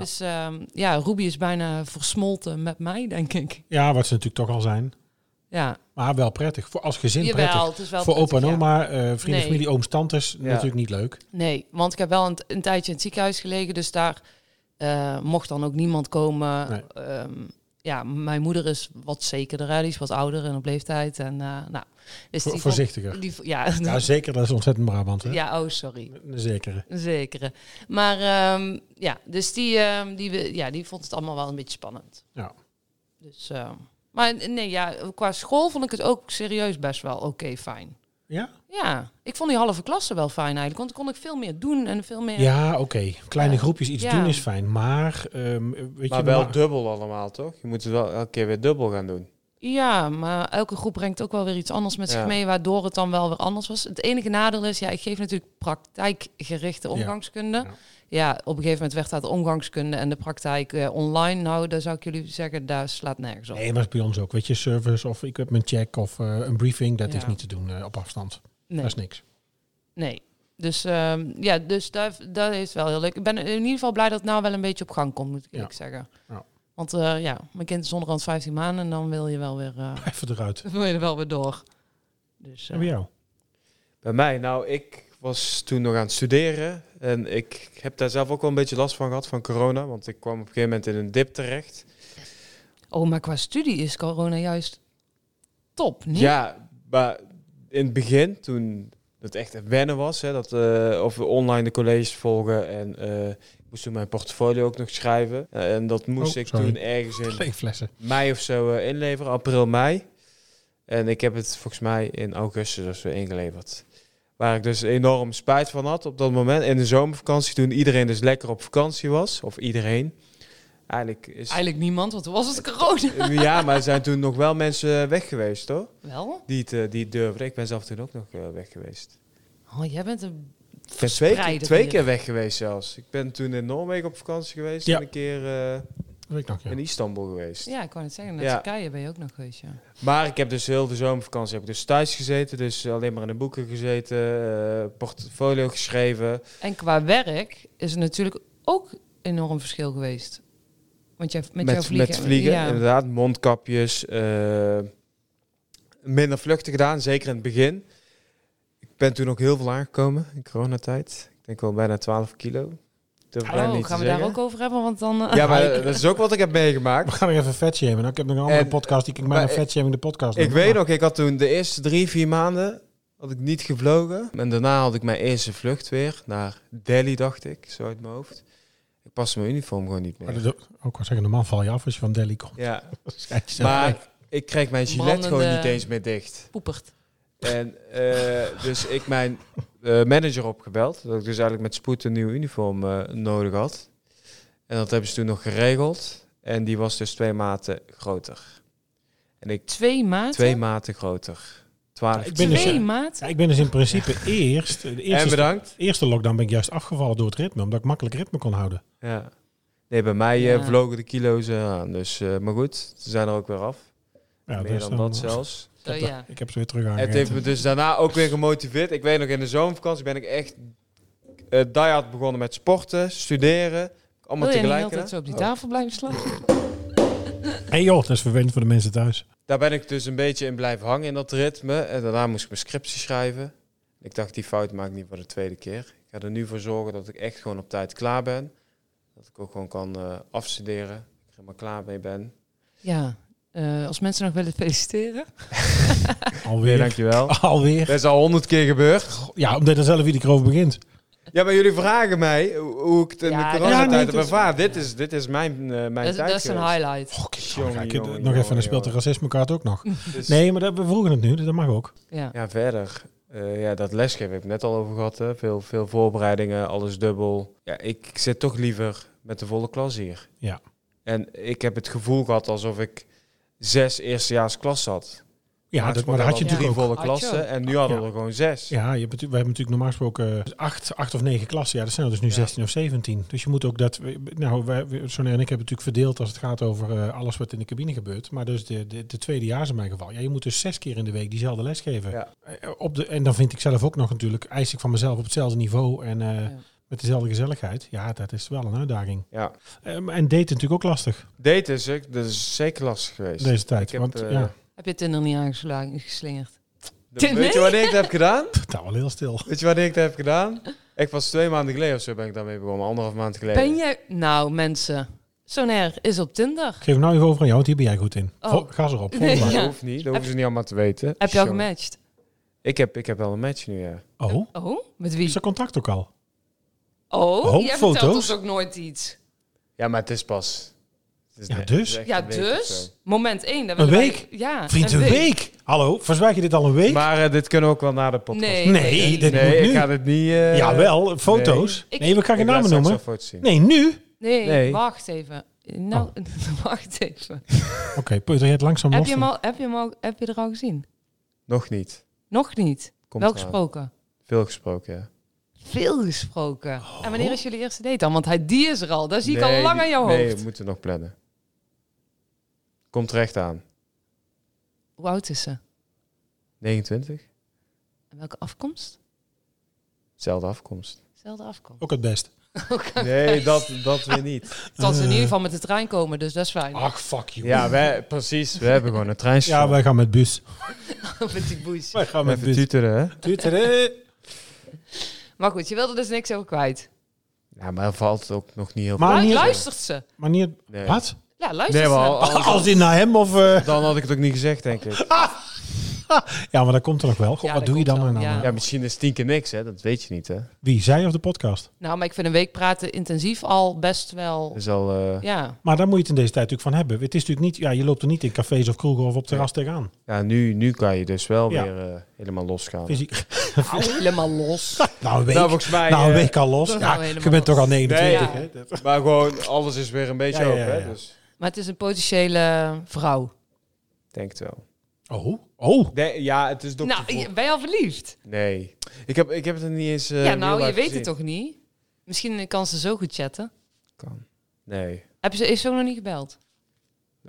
S2: Dus ehm, ja, Ruby is bijna versmolten met mij, denk ik.
S1: Ja, wat ze natuurlijk toch al zijn.
S2: Ja,
S1: Maar wel prettig. Voor als gezin prettig.
S2: jawel, het is wel
S1: voor
S2: prettig,
S1: opa en
S2: ja.
S1: oma, eh, vrienden,
S2: Nee.
S1: familie, ooms, tantes, natuurlijk niet leuk.
S2: Nee, want ik heb wel een, t- een tijdje in het ziekenhuis gelegen, dus daar eh, mocht dan ook niemand komen.
S1: Nee.
S2: Ehm, ja, mijn moeder is wat zekerder, hè? die is wat ouder en op leeftijd. En, eh, nou, dus
S1: Voor-
S2: die vond-
S1: voorzichtiger.
S2: die v- ja,
S1: Ja, zeker. Dat is ontzettend Brabant, hè?
S2: ja, oh sorry.
S1: Een zekere.
S2: Een zekere. Maar ehm, ja, dus die, ehm, die, we- ja, die vond het allemaal wel een beetje spannend.
S1: Ja.
S2: Dus, ehm, maar nee, ja, qua school vond ik het ook serieus best wel oké fijn.
S1: Ja?
S2: Ja, ik vond die halve klasse wel fijn eigenlijk, want dan kon ik veel meer doen en veel meer...
S1: Ja, oké. Kleine
S2: Ja.
S1: groepjes iets
S2: Ja.
S1: doen is fijn. Maar, ehm, weet je
S4: maar wel
S1: maar-
S4: dubbel allemaal, toch? Je moet het wel elke keer weer dubbel gaan doen.
S2: Ja, maar elke groep brengt ook wel weer iets anders met zich
S4: Ja.
S2: mee, waardoor het dan wel weer anders was. Het enige nadeel is, ja, ik geef natuurlijk praktijkgerichte omgangskunde.
S1: Ja.
S2: Ja, op een gegeven moment werd dat omgangskunde en de praktijk eh, online. Nou, daar zou ik jullie zeggen, daar slaat nergens op. Nee,
S1: Nee, maar het is bij ons ook. Weet je, service of ik heb mijn check of eh, een briefing. Dat is
S2: Ja.
S1: niet te doen eh, op afstand.
S2: nee.
S1: Dat is niks.
S2: Dus ehm, ja, dus daar- dat is wel heel leuk. Ik ben in ieder geval blij dat het nou wel een beetje op gang komt, moet ik
S1: Ja.
S2: eerlijk zeggen.
S1: Ja.
S2: Want eh, ja, mijn kind is onderhand 15 maanden en dan wil je wel weer, eh,
S1: Even eruit.
S2: wil je er wel weer door. Dus, eh,
S1: En bij jou?
S4: Bij mij, nou, ik was toen nog aan het studeren. En ik heb daar zelf ook wel een beetje last van gehad, van corona. Want ik kwam op een gegeven moment in een dip terecht.
S2: Oh, maar qua studie is corona juist top, niet?
S4: Ja, maar in het begin, toen het echt wennen was, hè, dat, eh, of we online de colleges volgen. En eh, ik moest toen mijn portfolio ook nog schrijven. Eh, en dat moest
S1: Oh,
S4: ik
S1: sorry.
S4: toen ergens in
S1: Twee flessen.
S4: mei of zo eh, inleveren, april, mei. En ik heb het volgens mij in augustus of zo ingeleverd. Waar ik dus enorm spijt van had op dat moment. In de zomervakantie, toen iedereen dus lekker op vakantie was. Of iedereen. Eigenlijk is...
S2: Eigenlijk niemand, want toen was het corona.
S4: Ja, maar er zijn toen nog wel mensen weg geweest, hoor.
S2: Wel?
S4: Die het, eh, die het durfden. Ik ben zelf toen ook nog eh, weg geweest.
S2: Oh, jij bent een...
S4: Ik ben twee, keer,
S2: Verspreider
S4: twee
S2: hier.
S4: keer weg geweest zelfs. Ik ben toen in Noorwegen op vakantie geweest.
S1: Ja.
S4: En een keer eh,
S1: Dat weet ik nog, ja.
S4: in Istanbul geweest.
S2: Ja, ik kan het zeggen. Naar
S4: Ja.
S2: Turkije ben je ook nog geweest, ja.
S4: Maar ik heb dus heel de zomervakantie heb ik dus thuis gezeten. Dus alleen maar in de boeken gezeten, eh, portfolio geschreven.
S2: En qua werk is het natuurlijk ook enorm verschil geweest. Want jij, met, jouw vliegen...
S4: met vliegen
S2: ja.
S4: inderdaad. Mondkapjes. eh, minder vluchten gedaan, zeker in het begin. Ik ben toen ook heel veel aangekomen in coronatijd. Ik denk wel bijna 12 kilo. Durf ik bijna
S2: Oh,
S4: niet te
S2: gaan we daar
S4: zeggen.
S2: ook over hebben? Want dan... eh,
S4: Ja, maar eh, dat is ook wat ik heb meegemaakt.
S1: We gaan weer even vetshamen. Nou, ik heb nog een andere
S4: En-
S1: podcast. Die ik
S4: maar
S1: mijn
S4: ik-
S1: vetshaming de podcast
S4: Ik
S1: noem.
S4: weet
S1: Maar-
S4: nog, ik had toen de eerste drie, vier maanden had ik niet gevlogen. En daarna had ik mijn eerste vlucht weer naar Delhi, dacht ik, zo uit mijn hoofd. Ik paste mijn uniform gewoon niet
S1: Maar
S4: meer.
S1: Oh, dat, ook al zeggen, normaal val je af als je van Delhi komt.
S4: Ja,
S1: Schijt jezelf.
S4: maar ik kreeg mijn gilet
S2: Brandende-
S4: gewoon niet eens meer dicht.
S2: Poepert.
S4: En eh, dus ik mijn eh, manager opgebeld, dat ik dus eigenlijk met spoed een nieuw uniform eh, nodig had. En dat hebben ze toen nog geregeld. En die was dus twee maten groter. En ik
S2: Twee maten?
S4: twee maten groter. Twaalf.
S1: Ik ben dus-
S2: Twee maten?
S1: Ja, ik ben dus in principe eerst... De
S4: en
S1: eerste,
S4: bedankt.
S1: de eerste lockdown ben ik juist afgevallen door het ritme. Omdat ik makkelijk ritme kon houden.
S4: Ja. Nee, bij mij eh,
S2: Ja.
S4: vlogen de kilo's eh, aan. Dus, eh, maar goed, ze zijn er ook weer af.
S1: Ja,
S4: Meer
S1: dus
S4: dan
S1: dan-
S4: dat zelfs.
S1: Ik heb,
S2: Oh,
S1: dat-
S2: ja.
S1: ik heb ze weer terug
S4: het heeft
S1: aangegeten.
S4: me dus daarna ook weer gemotiveerd. Ik weet nog, in de zomervakantie ben ik echt eh diehard begonnen met sporten, studeren. Allemaal
S2: Wil je niet
S4: tegelijk.
S2: altijd zo op die
S4: Oh.
S2: tafel blijven slaan?
S1: hey joh, dat is vervelend voor de mensen thuis.
S4: Daar ben ik dus een beetje in blijven hangen in dat ritme. En daarna moest ik mijn scriptie schrijven. Ik dacht, die fout maak ik niet voor de tweede keer. Ik ga er nu voor zorgen dat ik echt gewoon op tijd klaar ben. Dat ik ook gewoon kan eh, afstuderen. Dat ik er helemaal klaar mee ben.
S2: Ja, eh, als mensen nog willen feliciteren.
S1: Alweer.
S4: dankjewel.
S1: Alweer.
S4: Dat is al honderd keer gebeurd.
S1: Ja, omdat er zelf iedere keer over begint.
S4: Ja, maar jullie vragen mij hoe- hoe ik het in
S2: Ja,
S4: de
S2: dat- dus-
S4: coronatijd
S1: Ja, nee,
S4: heb
S1: dat is-
S4: ervaren. Dit is, dit is mijn, eh, mijn
S2: Dat, is-
S4: tijd
S2: dat is een
S4: geweest.
S2: highlight.
S1: Oh, kijk,
S4: Jongen,
S1: jongen,
S4: jongen,
S1: nog
S4: jongen,
S1: even, dan speelt de
S4: jongen.
S1: racismekaart ook nog.
S4: Dus-
S1: Nee, maar dat, we vroegen het nu, dus dat mag ook.
S2: Ja.
S4: Ja, verder. eh, ja, dat lesgeven heb ik net al over gehad. Hè. Veel, veel voorbereidingen, alles dubbel. Ja, ik, ik zit toch liever met de volle klas hier.
S1: Ja.
S4: En ik heb het gevoel gehad alsof ik zes eerstejaars klas had.
S1: Ja,
S4: Laatst
S1: dat, maar
S4: waren
S1: dat had je
S4: wel drie
S1: natuurlijk ook.
S4: volle
S2: Had je
S4: klassen
S2: ook.
S4: en nu hadden we
S1: Ja.
S4: er gewoon zes.
S1: Ja, je hebt, natu- we hebben natuurlijk normaal gesproken eh, acht, acht of negen klassen. Ja, dat zijn er dus nu
S4: Ja.
S1: 16 of 17. Dus je moet ook dat... Nou, wij, we- Sonja en ik hebben natuurlijk verdeeld als het gaat over eh, alles wat in de cabine gebeurt. Maar dus de, de, de tweede jaar is in mijn geval. Ja, je moet dus zes keer in de week diezelfde les geven.
S4: Ja.
S1: Eh, Op de, en dan vind ik zelf ook nog natuurlijk, eis ik van mezelf op hetzelfde niveau en eh,
S2: Ja.
S1: met dezelfde gezelligheid. Ja, dat is wel een uitdaging.
S4: ja.
S1: Eh, maar- en daten natuurlijk ook lastig
S4: Date is, ik- dat is zeker lastig geweest.
S1: deze tijd.
S4: Ik heb,
S1: want
S4: eh,
S1: ja,
S2: Heb je Tinder niet aangeslagen, geslingerd?
S4: de- weet je wanneer ik dat heb gedaan?
S1: het was wel heel stil.
S4: Weet je wanneer ik dat heb gedaan? Ik was twee maanden geleden of zo ben ik daarmee begonnen. Anderhalf maand geleden.
S2: Ben jij... Nou, mensen. Sonair is op Tinder.
S1: Ik geef hem nou even over aan jou, want hier ben jij goed in.
S2: Oh.
S1: Vol- Gas erop.
S2: Nee.
S1: volgende.
S4: Dat
S2: Ja.
S4: hoeft niet. Dat hoeven ze niet allemaal te weten.
S2: Heb je al
S4: Sorry.
S2: gematcht?
S4: Ik heb, ik heb wel een match nu, ja.
S1: Oh,
S2: Oh, met
S1: is
S2: wie?
S1: er contact ook al?
S2: Oh,
S1: Oh,
S2: jij vertelt
S1: foto's?
S2: ons ook nooit iets.
S4: Ja, maar het is pas. Het is
S1: Ja,
S4: net-
S1: dus?
S4: het is echt
S2: Ja,
S4: een week of
S2: dus?
S4: zo.
S2: Moment één. dat
S1: Een
S2: willen
S1: week?
S2: wij- ja,
S1: Vriend, een week. Hallo, verzwijg je dit al een week?
S4: Maar eh, dit kunnen we ook wel na de podcast.
S2: Nee.
S1: nee, dit
S4: Nee,
S1: moet
S4: ik
S1: nu.
S4: ga dit niet... eh,
S1: Jawel, foto's.
S2: Ik-
S1: Nee, we gaan
S4: ik
S1: geen
S4: laat
S1: namen
S4: straks wel
S1: noemen.
S4: foto's zien.
S1: Nee, nu?
S2: Nee,
S4: Nee.
S2: wacht even. Nou, wacht even.
S1: Oké, Peuter, je het langzaam
S2: Heb
S1: los.
S2: je, hem al, heb, je hem al, heb je er al gezien?
S4: Nog niet.
S2: Nog niet.
S4: Komt
S2: Wel
S4: eraan.
S2: gesproken.
S4: Veel gesproken, ja.
S2: Veel gesproken. En wanneer is jullie eerste date dan? Want hij, die is er al. Daar zie ik al
S4: Nee,
S2: lang aan jouw
S4: Nee, we
S2: hoofd.
S4: moeten nog plannen. Komt recht aan.
S2: Hoe oud is ze?
S4: 29?
S2: En welke afkomst?
S4: Zelfde afkomst.
S2: Zelfde afkomst.
S1: Ook het best.
S4: Nee, dat, dat weer niet.
S2: Dat ze in ieder geval met de trein komen, dus dat is fijn.
S1: Ach, fuck you. Ja,
S4: Ja, wij, precies. We hebben gewoon een treinstation.
S1: wij gaan met bus.
S2: met die boes.
S1: Wij gaan met
S4: Even
S1: bus.
S4: tuteren, hè?
S1: Tuteren.
S2: Maar goed, je wilde dus niks over kwijt.
S4: Ja, maar er valt ook nog niet heel
S1: Maar
S2: Lu-
S1: Ah, niet-
S2: luistert ze?
S1: Maar niet...
S4: Nee.
S1: Wat?
S2: Ja, Oh, luistert
S4: Nee, maar
S2: ze?
S4: al- al-
S1: Als in naar hem of... eh,
S4: dan had ik het ook niet gezegd, denk ik.
S1: Ja, maar dat komt er nog wel. Goh,
S2: Ja,
S1: wat
S2: dat
S1: doe je
S2: komt
S1: dan?
S2: wel,
S1: en dan
S2: ja.
S1: eh?
S4: Ja, misschien is tien keer niks, hè? Dat weet je niet, hè?
S1: Wie, zij of de podcast?
S2: Nou, maar ik vind een week praten intensief al best wel...
S4: Dat is al... eh,
S2: Ja,
S1: Maar daar moet je het in deze tijd natuurlijk van hebben. Het is natuurlijk niet... Ja, je loopt er niet in cafés of kroegen of op terras tegenaan.
S4: ja, nu, nu kan je dus wel
S1: Ja.
S4: weer eh, helemaal losgaan.
S1: Fysiek.
S2: helemaal los.
S1: Nou, een week.
S4: Nou, volgens mij...
S1: Nou, een
S4: eh,
S1: week al los.
S2: dat is
S1: Ja,
S2: nou helemaal
S1: je bent toch al 29,
S4: Nee.
S1: hè?
S4: Maar gewoon, alles is weer een beetje
S1: Ja, ja,
S4: open,
S1: ja,
S4: hè?
S1: ja.
S4: Dus
S2: Maar het is een potentiële vrouw.
S4: ik denk het wel.
S1: Oh, oh.
S4: Nee, ja, het is toch
S2: nou, je- ben je al verliefd?
S4: Nee. Ik heb, ik heb het er niet eens... eh,
S2: ja,
S4: in real
S2: nou, je
S4: life
S2: weet
S4: gezien.
S2: het toch niet? Misschien kan ze zo goed chatten.
S4: Kan. Nee,
S2: Heb ze, heeft ze ook nog niet gebeld?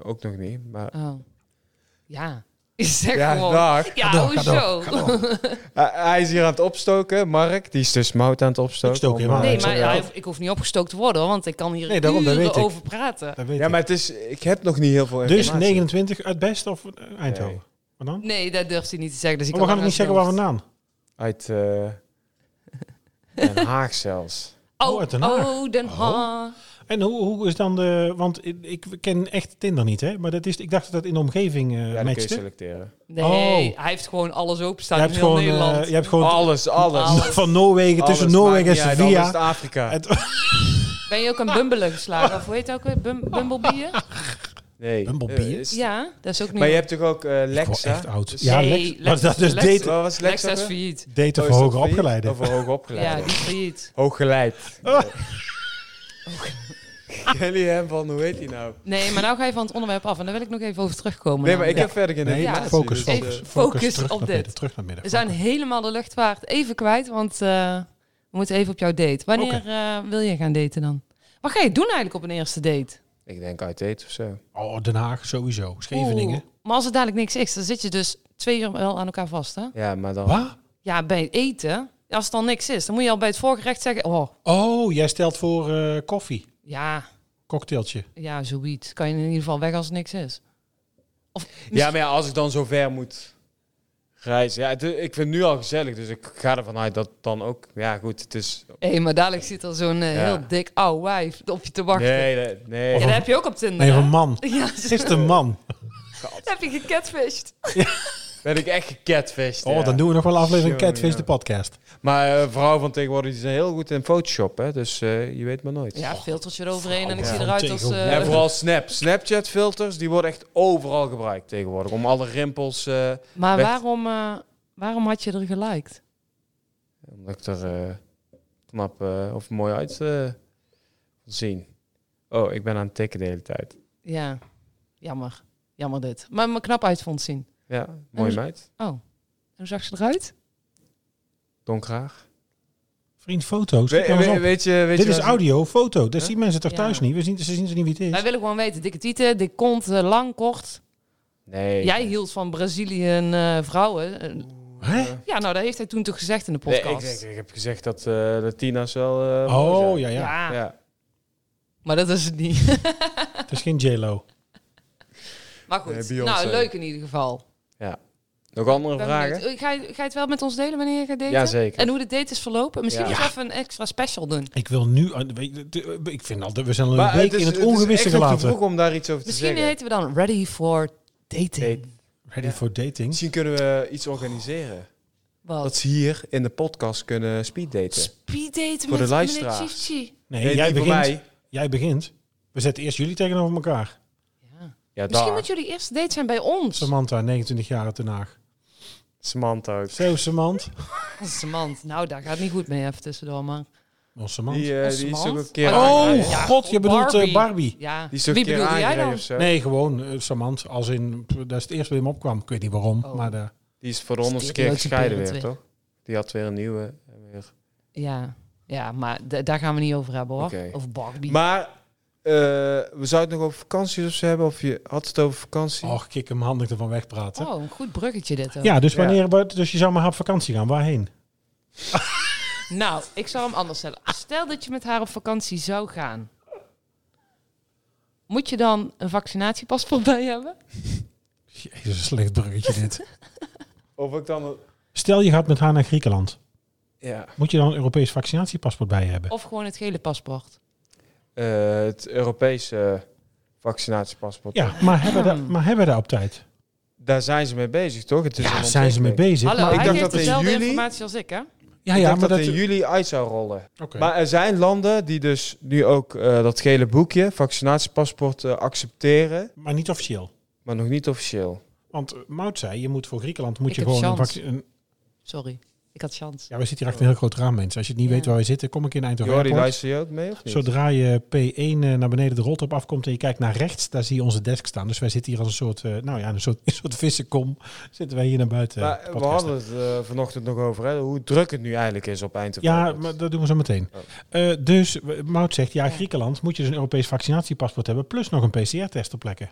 S4: ook nog niet. Maar...
S2: Oh. Ja. Ik zeg
S4: Ja,
S2: gewoon...
S4: dag.
S2: Ja,
S1: nou, Ga door, ga
S2: hoezo?
S4: Hij- hij is hier aan het opstoken, Mark. Die is dus mout aan het opstoken.
S1: Ik stook
S4: om,
S1: helemaal
S4: eh,
S2: Nee,
S1: Ja,
S2: maar
S1: ja.
S2: ja, ik hoef niet opgestookt te worden, hoor, want ik kan hier
S1: Nee, daarom, dat
S2: uren
S1: weet ik.
S2: over praten.
S1: Dat weet
S4: Ja,
S1: ik.
S4: maar het is... Ik heb nog niet heel veel
S1: Dus
S4: Eh, informatie.
S1: 29 uit Best of eh, Eindhoven?
S4: Nee.
S1: Wat dan?
S2: Nee, dat durft hij niet te zeggen. Dus ik
S1: Oh, we
S2: kan
S1: gaan het niet zeggen
S2: aan
S1: waar
S2: zijn
S1: vandaan.
S4: Uit eh, Den Haag zelfs.
S1: Oh, uit
S2: hoofd.
S1: Den
S2: Oh,
S1: Haag.
S2: oh, Den Haag.
S1: En hoe, hoe is dan de... Want ik- ik ken echt Tinder niet, hè? Maar dat is, ik dacht dat dat in de omgeving eh
S4: Ja, dat kun je
S1: matchte.
S4: selecteren.
S2: Nee,
S1: Oh.
S2: hij heeft gewoon alles
S1: Je
S2: openstaan in
S1: hebt
S2: heel
S1: gewoon, eh,
S2: Nederland.
S1: je hebt gewoon
S4: Alles, alles.
S2: Alles.
S1: van Noorwegen, tussen Noorwegen en
S4: Alles is
S1: Sevilla.
S4: Afrika.
S1: Het-
S2: Ben je ook een bumbelen geslagen? Of hoe heet het ook weer? Bum bumblebeeën?
S4: Nee.
S1: Bumblebee?
S4: eh, is-
S2: Ja, dat is ook niet...
S4: Maar je hebt toch ook eh,
S1: word
S4: Lexa?
S1: echt oud.
S4: Dus-
S1: Ja, Lex-
S2: Lex-
S1: maar dat dus is
S2: Lex-
S1: date-
S4: Wat was Lexa?
S2: Lexa is
S4: ook weer?
S2: failliet.
S1: daten
S4: Oh,
S1: voor
S4: is dat
S1: hoger
S4: failliet?
S1: opgeleiden.
S4: Of voor hoger
S2: Ja,
S4: opgeleid.
S2: die is failliet.
S4: Hooggeleid.
S1: Oh.
S4: Jullie hem van, hoe heet hij nou?
S2: Nee, maar nou ga je van het onderwerp af. En daar wil ik nog even over terugkomen.
S4: Nee, maar ik
S2: namelijk.
S4: heb verder geen
S1: Nee,
S4: informatie.
S1: focus,
S4: dus,
S1: focus,
S4: eh,
S2: Focus
S1: terug
S2: op
S1: naar
S2: dit.
S1: midden, terug naar midden.
S2: We zijn helemaal de luchtvaart even kwijt, want eh, we moeten even op jouw date. Wanneer eh, wil je gaan daten dan? Wat ga je doen eigenlijk op een eerste date?
S4: ik denk uit eten of zo.
S1: Oh, Den Haag sowieso. Scheveningen.
S2: Oeh, maar als het dadelijk niks is, dan zit je dus twee uur wel aan elkaar vast, hè?
S4: Ja, maar dan...
S1: Wat?
S2: Ja, bij het eten. Als het dan niks is, dan moet je al bij het voorgerecht zeggen... Oh,
S1: Oh, jij stelt voor eh, koffie.
S2: ja,
S1: cocktailtje.
S2: Ja, zoiets. Kan je in ieder geval weg als er niks is. Of
S4: Ja, maar ja, als ik dan zo ver moet reizen. Ja, het- ik vind het nu al gezellig, dus ik ga ervan uit dat dan ook... Ja, goed, het is...
S2: Hé, maar dadelijk zit er zo'n eh,
S4: Ja.
S2: heel dik oude wijf op je te wachten.
S4: Nee, nee, nee.
S2: Ja, dat
S1: Of-
S2: heb je ook op Tinder.
S1: Nee,
S2: hè?
S1: een man.
S2: Ja,
S1: Het is een man.
S4: Gat.
S2: heb je gecatfished.
S4: Ben ik echt gecatfished.
S1: Oh,
S4: ja.
S1: dan doen we nog wel een aflevering
S4: Jongen,
S1: Catfish,
S4: ja.
S1: de podcast.
S4: Maar eh, vrouwen van tegenwoordig die zijn heel goed in Photoshop, hè? dus eh, je weet maar nooit.
S2: Ja, filtertje eroverheen en ik
S1: Ja.
S2: zie eruit als...
S1: Tegen-
S2: eh,
S4: En vooral Snap. Snapchat-filters, die worden echt overal gebruikt tegenwoordig. Om alle rimpels... eh,
S2: Maar
S4: Werd-
S2: waarom, eh, waarom had je er geliked?
S4: omdat ik er eh, knap eh, of mooi uit eh, zien. Oh, ik ben aan het tikken de hele tijd.
S2: Ja, jammer. Jammer dit. Maar me knap uit vond zien.
S4: Ja, mooie
S2: En-
S4: meid.
S2: Oh, en hoe zag ze eruit?
S4: Donkraag.
S1: Vriend, foto's.
S4: We,
S1: zoek nou eens
S4: we-
S1: op.
S4: weet je... Weet
S1: Dit
S4: je
S1: is
S4: wat-
S1: audio, foto. Dat
S4: Huh?
S1: zien mensen toch
S2: Ja.
S1: thuis niet? We zien, ze zien ze niet wie het
S2: Wij
S1: is.
S2: willen gewoon weten. Dikke tieten, dik kont, eh, lang, kort.
S4: Nee.
S2: Jij hield van Brazilië en eh, vrouwen. Eh,
S1: Hè?
S2: ja, nou, dat heeft hij toen toch gezegd in de
S4: Nee,
S2: podcast.
S4: ik, ik, ik heb gezegd dat eh, Latina's wel... eh,
S1: Oh,
S4: mooi
S1: ja,
S4: zijn.
S1: ja.
S2: ja.
S4: ja.
S2: maar dat is het niet.
S1: Het is geen J-Lo.
S2: maar goed,
S4: Nee, Beyoncé.
S2: nou, leuk in ieder geval.
S4: Nog andere
S2: Ik ben
S4: vragen?
S2: benieuwd. Eh, Ga, je, ga je het wel met ons delen wanneer je gaat daten?
S4: Ja, zeker.
S2: En hoe de date is verlopen? Misschien
S4: Ja.
S2: eens even een extra special doen.
S1: Ik wil nu... aan- weet je, eh, Ik vind al dat we zijn al een
S4: Maar
S1: week in het ongewisse
S4: Het is echt nog te
S1: gelaten.
S4: vroeg om daar iets over te
S2: Misschien
S4: zeggen.
S2: heten we dan Ready for Dating.
S4: Date.
S1: Ready
S4: Ja.
S1: for dating.
S4: Misschien kunnen we iets organiseren.
S2: Wat?
S4: Dat ze hier in de podcast kunnen speeddaten.
S2: Speed daten
S4: Voor
S2: met
S4: de
S2: meneer
S4: luisteraars.
S2: Chichi.
S1: Nee,
S4: Nee,
S1: jij
S4: die voor
S1: begint.
S4: mij.
S1: Jij begint. We zetten eerst jullie tegenover elkaar.
S2: Ja.
S4: Ja,
S2: Misschien
S4: daar.
S2: moet jullie eerste date zijn bij ons.
S1: Samantha, 29 jaar uit Den Haag.
S4: Samantha ook.
S1: Zo, Samant.
S2: Samant, nou daar gaat niet goed mee even tussendoor, maar...
S1: Oh, Samant.
S4: Die, eh,
S2: Ons
S4: die is
S2: Samant?
S4: ook een keer
S1: Oh,
S4: aangereden.
S2: Ja,
S1: god, je bedoelt eh,
S2: Barbie.
S1: Barbie.
S2: Ja,
S4: Die is ook
S2: wie
S4: een keer
S2: bedoelde jij
S4: aangereden
S2: dan?
S4: of zo.
S1: Nee, gewoon eh, Samant. Als in, pff, dat is het eerste wat hem opkwam. Ik weet niet waarom,
S2: Oh.
S1: maar... eh, daar.
S4: Die is voor de
S2: Is
S4: honderdste
S2: die
S4: keer
S2: leuke
S4: gescheiden
S2: beeld
S4: weer,
S2: weer.
S4: toch? Die had weer een nieuwe. en weer-
S2: Ja, ja maar d- daar gaan we niet over hebben hoor.
S4: Oké.
S2: Of Barbie.
S4: Maar eh, we zouden het nog over vakanties of zo hebben. Of je had het over vakantie.
S1: Och, kik hem handig ervan wegpraten.
S2: Oh, een goed bruggetje dit ook.
S1: Ja, dus,
S4: Ja.
S1: wanneer, wordt- dus je zou maar op vakantie gaan. Waarheen?
S2: Nou, ik zal hem anders stellen. Stel dat je met haar op vakantie zou gaan. Moet je dan een vaccinatiepaspoort bij hebben?
S1: Jezus, een slecht bruggetje dit.
S4: Of ik dan...
S1: Stel, je gaat met haar naar Griekenland.
S4: Ja.
S1: Moet je dan een Europees vaccinatiepaspoort bij je hebben?
S2: Of gewoon het gele paspoort?
S4: Eh, het Europese eh, vaccinatiepaspoort.
S1: Ja, maar hebben, we daar,
S2: Hmm.
S1: maar hebben we daar op tijd?
S4: Daar zijn ze mee bezig, toch? Het is
S1: Ja,
S4: een
S1: zijn ze mee
S4: ontwikkeling.
S1: bezig?
S2: Hallo,
S1: maar
S4: ik
S2: hij
S4: dacht
S2: geeft
S4: dat in
S2: dezelfde
S4: juli-
S2: informatie als ik hè?
S1: ja,
S4: Ik
S1: ja,
S4: dacht
S1: maar
S4: dat
S1: dat...
S4: in juli uit zou rollen.
S1: Oké.
S4: Maar er zijn landen die dus nu ook eh, dat gele boekje, vaccinatiepaspoort, eh, accepteren,
S1: maar niet officieel.
S4: maar nog niet officieel.
S1: Want eh, Mout zei, je moet voor Griekenland moet
S2: Ik
S1: je
S2: heb
S1: gewoon een
S2: chance.
S1: vaccin... een-
S2: Sorry, ik had chance.
S1: Ja, we zitten hier achter een heel groot raam, mensen. Als je het niet
S2: Ja.
S1: weet waar we zitten, kom ik in Eindhoven
S4: Jordi,
S1: Airport.
S4: luister je ook mee of niet?
S1: Zodra je P1 eh, naar beneden de roltrap afkomt en je kijkt naar rechts, daar zie je onze desk staan. Dus wij zitten hier als een soort, eh, nou ja, een soort, een soort vissenkom. Zitten wij hier naar buiten. eh,
S4: Maar eh,
S1: te
S4: we
S1: podcasten.
S4: hadden het eh, vanochtend nog over, hè, hoe druk het nu eigenlijk is op Eindhoven.
S1: Ja, maar dat doen we zo meteen.
S4: Oh.
S1: Eh, dus w- Mout zegt, ja, Griekenland moet je dus een Europees vaccinatiepaspoort hebben, plus nog een PCR-test ter plekke.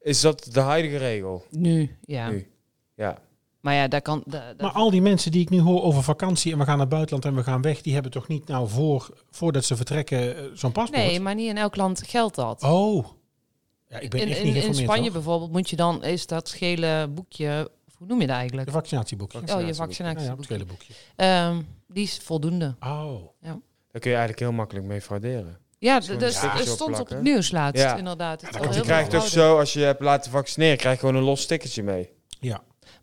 S4: Is dat de huidige regel?
S2: Nu, ja.
S4: Nu. Ja.
S2: Maar ja, daar kan... da- da-
S1: Maar al die mensen die ik nu hoor over vakantie en we gaan naar het buitenland en we gaan weg, die hebben toch niet nou voor, voordat ze vertrekken eh, zo'n paspoort?
S2: nee, maar niet in elk land geldt dat.
S1: Oh. Ja, ik ben
S2: in,
S1: echt
S2: in,
S1: niet
S2: in
S1: geïnformeerd.
S2: Spanje
S1: hoor.
S2: bijvoorbeeld moet je dan is dat gele boekje, hoe noem je dat eigenlijk?
S1: De vaccinatieboekje.
S2: Oh, je
S4: vaccinatieboekje.
S1: Ja, ja, het
S2: vaccinatieboekje.
S1: gele boekje.
S2: Ehm, die is voldoende.
S1: Oh.
S4: Daar kun je eigenlijk heel makkelijk mee frauderen.
S2: Ja, d-
S4: Zo'n
S2: dus
S4: stickertje
S2: er stond op
S4: opplakken.
S2: het nieuws laatst,
S4: Ja.
S2: inderdaad. Het
S1: dat kan.
S2: was
S4: Want
S2: heel
S4: je krijgt dus,
S2: veel
S4: ook
S2: fraude.
S4: zo, als je hebt laten vaccineren, krijg je gewoon een los stickertje mee.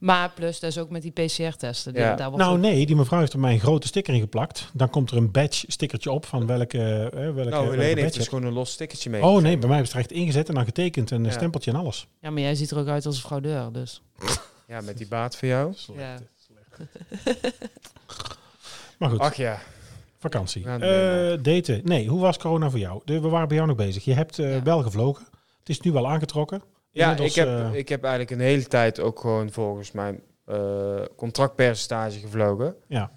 S2: Maar plus, dat is ook met die PCR-testen.
S4: eh, Ja.
S2: Daar wordt
S1: Nou
S2: ook-
S1: nee, die mevrouw heeft er mij een grote sticker in geplakt. Dan komt er een badge stickertje op van welke, eh, welke,
S4: nou,
S1: welke
S4: Helene heeft
S1: badge
S4: dus
S1: het-
S4: gewoon een los stickertje mee.
S1: Oh nee, bij mij heeft het recht ingezet en dan getekend en een
S4: Ja.
S1: stempeltje en alles.
S2: Ja, maar jij ziet er ook uit als een fraudeur, dus.
S4: Ja, met die baat voor jou.
S2: Ja.
S1: Maar goed,
S4: Ach ja.
S1: vakantie.
S4: Ja,
S1: Eh
S4: nee,
S1: daten. Nee, hoe was corona voor jou? De, we waren bij jou nog bezig. Je hebt eh,
S2: Ja.
S1: wel gevlogen. Het is nu wel aangetrokken.
S4: Ja,
S1: Inmiddels,
S4: ik heb,
S1: eh,
S4: ik heb eigenlijk een hele tijd ook gewoon volgens mijn eh, contractpercentage gevlogen.
S1: Ja.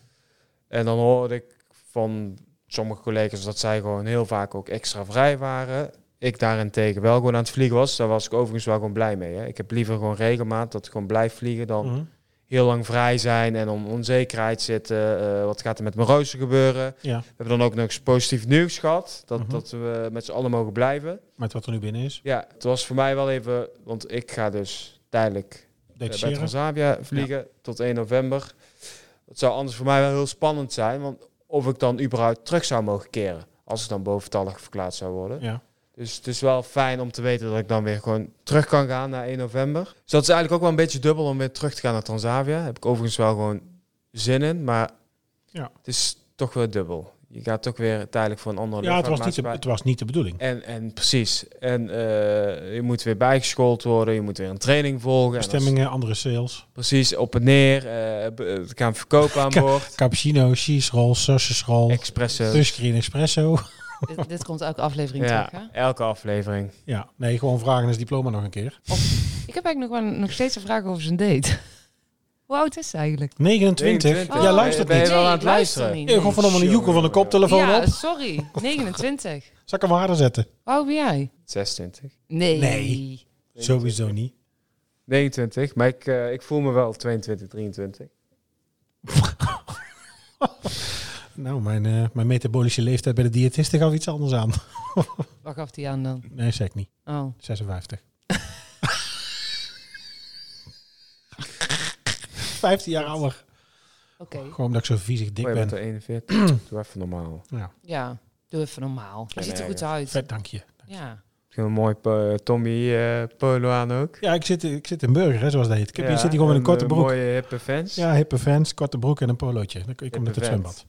S4: En dan hoorde ik van sommige collega's dat zij gewoon heel vaak ook extra vrij waren. Ik daarentegen wel gewoon aan het vliegen was. Daar was ik overigens wel gewoon blij mee. Hè. Ik heb liever gewoon regelmaat dat ik gewoon blijf vliegen dan
S1: mhm.
S4: heel lang vrij zijn en om onzekerheid zitten. eh, wat gaat er met mijn rooster gebeuren?
S1: Ja,
S4: We hebben dan ook nog eens positief nieuws gehad. Dat,
S1: Mhm.
S4: dat we met z'n allen mogen blijven.
S1: met wat er nu binnen is.
S4: Ja, het was voor mij wel even... Want ik ga dus tijdelijk eh, bij
S1: Detacheren.
S4: Transavia vliegen tot 1 november. Het zou anders voor mij wel heel spannend zijn, want of ik dan überhaupt terug zou mogen keren als ik dan boventallig verklaard zou worden.
S1: Ja.
S4: Dus het is wel fijn om te weten dat ik dan weer gewoon terug kan gaan naar 1 november. Dus dat is eigenlijk ook wel een beetje dubbel om weer terug te gaan naar Transavia. Heb ik overigens wel gewoon zin in, maar
S1: Ja.
S4: het is toch weer dubbel. Je gaat toch weer tijdelijk voor een andere
S1: ja, het was, niet de,
S4: luchtvaartmaatschappij.
S1: het was niet de bedoeling.
S4: En, en precies. En eh, je moet weer bijgeschoold worden, je moet weer een training volgen. En als-
S1: Bestemmingen, andere sales.
S4: Precies, op en neer. eh, b- eh, Er gaan verkopen aan boord.
S1: Cappuccino, cheese roll, sausage roll,
S4: Expresso.
S1: touchscreen espresso.
S2: dit, dit komt elke aflevering
S4: ja,
S2: terug, hè?
S4: elke aflevering.
S1: Ja, nee, gewoon vragen is diploma nog een keer.
S2: Ik heb eigenlijk nog, wel, nog steeds een vraag over zijn date. Hoe oud is ze eigenlijk?
S1: 29.
S4: 29.
S1: Ja,
S4: Oh,
S1: luistert
S4: ben je
S1: niet.
S4: wel aan het
S2: ik luister
S4: luisteren?
S1: Nee, gewoon van om een joekel van een koptelefoon
S2: ja,
S1: op.
S2: sorry. 29.
S1: Zal ik hem harder zetten?
S2: Hoe oud ben jij?
S4: 26.
S2: Nee.
S1: Nee. Sowieso niet.
S4: 29, maar ik, eh, ik voel me wel 22, 23.
S1: Nou, mijn, eh, mijn metabolische leeftijd bij de diëtiste gaf iets anders aan.
S2: Waar gaf die aan dan?
S1: Nee, zeg ik niet.
S2: Oh.
S1: 56. 15 jaar ouder.
S2: Oké.
S1: Gewoon omdat ik zo viezig dik
S4: Oh, je bent
S1: ben.
S4: er 41. Doe even normaal.
S2: Ja, doe even normaal. Je
S4: Ja,
S2: ziet er
S4: nee,
S2: goed uit.
S1: Vet, dank je.
S2: Ja.
S4: Ik heb een mooi po- Tommy eh, polo aan ook.
S1: Ja, ik zit, ik zit in burger, hè, zoals dat heet. Ik heb,
S4: Ja, eh,
S1: je zit hier gewoon in een korte broek.
S4: Mooie hippe fans.
S1: Ja, hippe fans, korte broek en een polootje. Dan kun je
S4: Hippe
S1: komt met het
S4: vent.
S1: zwembad.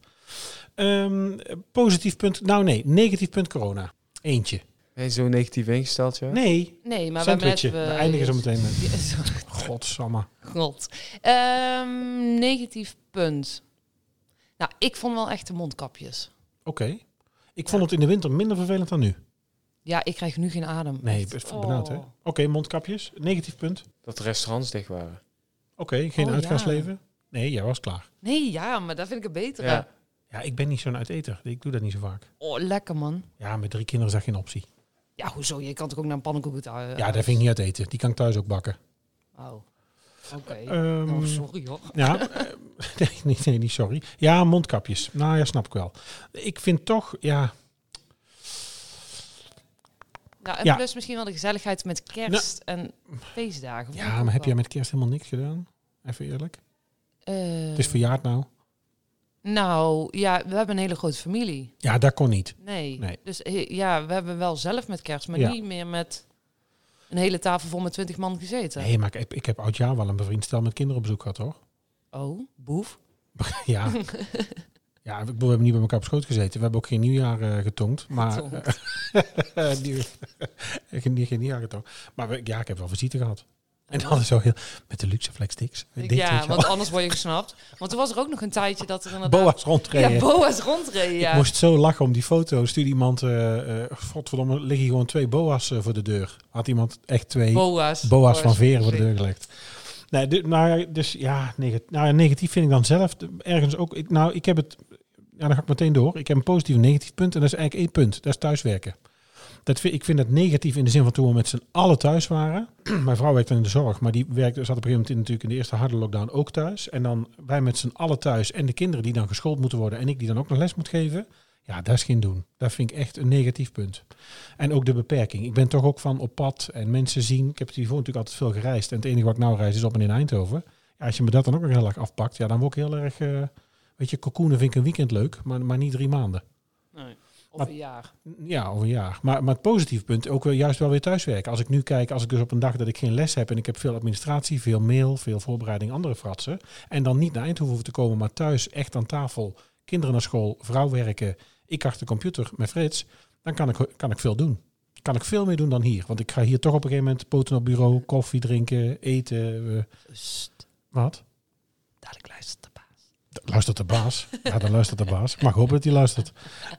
S1: Ehm, positief punt, nou nee, negatief punt corona. Eentje.
S4: Ben je zo negatief ingesteld, joh?
S1: Nee,
S2: Nee, maar we hebben net...
S1: sandwichje. We eindigen zo meteen met.
S2: Ja, sorry.
S1: Godsamme.
S2: God. Ehm, negatief punt. Nou, ik vond wel echt de mondkapjes.
S1: Oké. Ik vond het in de winter minder vervelend dan nu.
S2: Ja, ik krijg nu geen adem.
S1: Nee,
S2: Echt.
S1: best
S2: Oh.
S1: benauwd hè. Oké, mondkapjes. Negatief punt.
S4: Dat de restaurants dicht waren.
S1: Oké, geen
S2: Oh,
S1: uitgaansleven. Nee, jij was klaar.
S2: Nee, ja, maar dat vind ik een betere.
S4: Ja.
S1: Ja, ik ben niet zo'n uiteter. Ik doe dat niet zo vaak.
S2: Oh, lekker man.
S1: Ja, met drie kinderen is dat geen optie.
S2: Ja, hoezo? Je kan toch ook naar een pannenkoek uit? eh,
S1: Ja, dat vind ik niet uit eten. Die kan ik thuis ook bakken.
S2: Oh, oké.
S1: Ehm,
S2: oh, sorry hoor.
S1: Ja, eh, nee, nee, nee, niet sorry. Ja, mondkapjes. Nou ja, snap ik wel. Ik vind toch, ja,
S2: Nou,
S1: ja.
S2: en
S1: Nou.
S2: plus misschien wel de gezelligheid met kerst en feestdagen. vond ik
S1: ja
S2: ook
S1: maar heb
S2: wel.
S1: jij met kerst helemaal niks gedaan? Even eerlijk.
S2: Eh,
S1: Het is verjaard nou.
S2: Nou, ja, we hebben een hele grote familie.
S1: Ja, dat kon niet.
S2: Nee.
S1: Nee.
S2: Dus eh, ja, we hebben wel zelf met kerst, maar
S1: Ja.
S2: niet meer met een hele tafel vol met twintig man gezeten.
S1: Nee, maar ik heb, ik heb oud jaar wel een bevriend stel met kinderen op bezoek gehad, hoor.
S2: Oh, boef.
S1: Ja. Ja, ik bedoel, we hebben niet bij elkaar op schoot gezeten. We hebben ook geen nieuwjaar eh, getongd. Maar,
S2: Getongd.
S1: eh, nieuw- geen, geen nieuwjaar getongd. Maar we- ja, ik heb wel visite gehad. En dan is zo heel... Met de luxe flexsticks. Dit, weet
S2: Oh. ja,
S1: je wel.
S2: want anders word je gesnapt. Want toen was er ook nog een tijdje dat er inderdaad...
S1: Boa's rondreden.
S2: Ja, boa's rondreden, ja.
S1: Ik moest zo lachen om die foto. Stuurde iemand, eh eh godverdomme, liggen hier gewoon twee boa's eh, voor de deur. Had iemand echt twee boa's,
S2: boa's.
S1: van veren voor de deur gelegd. Nee, dit- nou, ja, dus ja, negatief, nou, ja, negatief vind ik dan zelf de- ergens ook. Ik, nou, ik heb het, ja, dan ga ik meteen door. Ik heb een positief en negatief punt en dat is eigenlijk één punt. Dat is thuiswerken. Dat vind, ik vind dat negatief in de zin van toen we met z'n allen thuis waren. Mijn vrouw werkte in de zorg, maar die werkte, zat op een gegeven moment in, natuurlijk in de eerste harde lockdown ook thuis. En dan wij met z'n allen thuis en de kinderen die dan geschoold moeten worden en ik die dan ook nog les moet geven. Ja, dat is geen doen. Dat vind ik echt een negatief punt. En ook de beperking. Ik ben toch ook van op pad en mensen zien. Ik heb hiervoor natuurlijk altijd veel gereisd. En het enige wat ik nou reis is op en in Eindhoven. Ja, als je me dat dan ook nog heel erg afpakt, ja, dan word ik heel erg... eh, weet je, cocoonen vind ik een weekend leuk, maar, maar niet drie maanden.
S2: Nee, Of
S1: Maar-
S2: een jaar.
S1: Ja, over een jaar. Maar, maar het positieve punt, ook wel juist wel weer thuiswerken. Als ik nu kijk, als ik dus op een dag dat ik geen les heb en ik heb veel administratie, veel mail, veel voorbereiding, andere fratsen. En dan niet naar Eindhoven hoeven te komen, maar thuis echt aan tafel, kinderen naar school, vrouw werken, ik achter de computer met Frits. Dan kan ik, kan ik veel doen. Kan ik veel meer doen dan hier. Want ik ga hier toch op een gegeven moment poten op bureau, koffie drinken, eten. eh,
S2: Sst,
S1: wat?
S2: dadelijk luistert de baas.
S1: Luistert de baas. Ja, dan luistert de baas. Ik mag hopen dat hij luistert.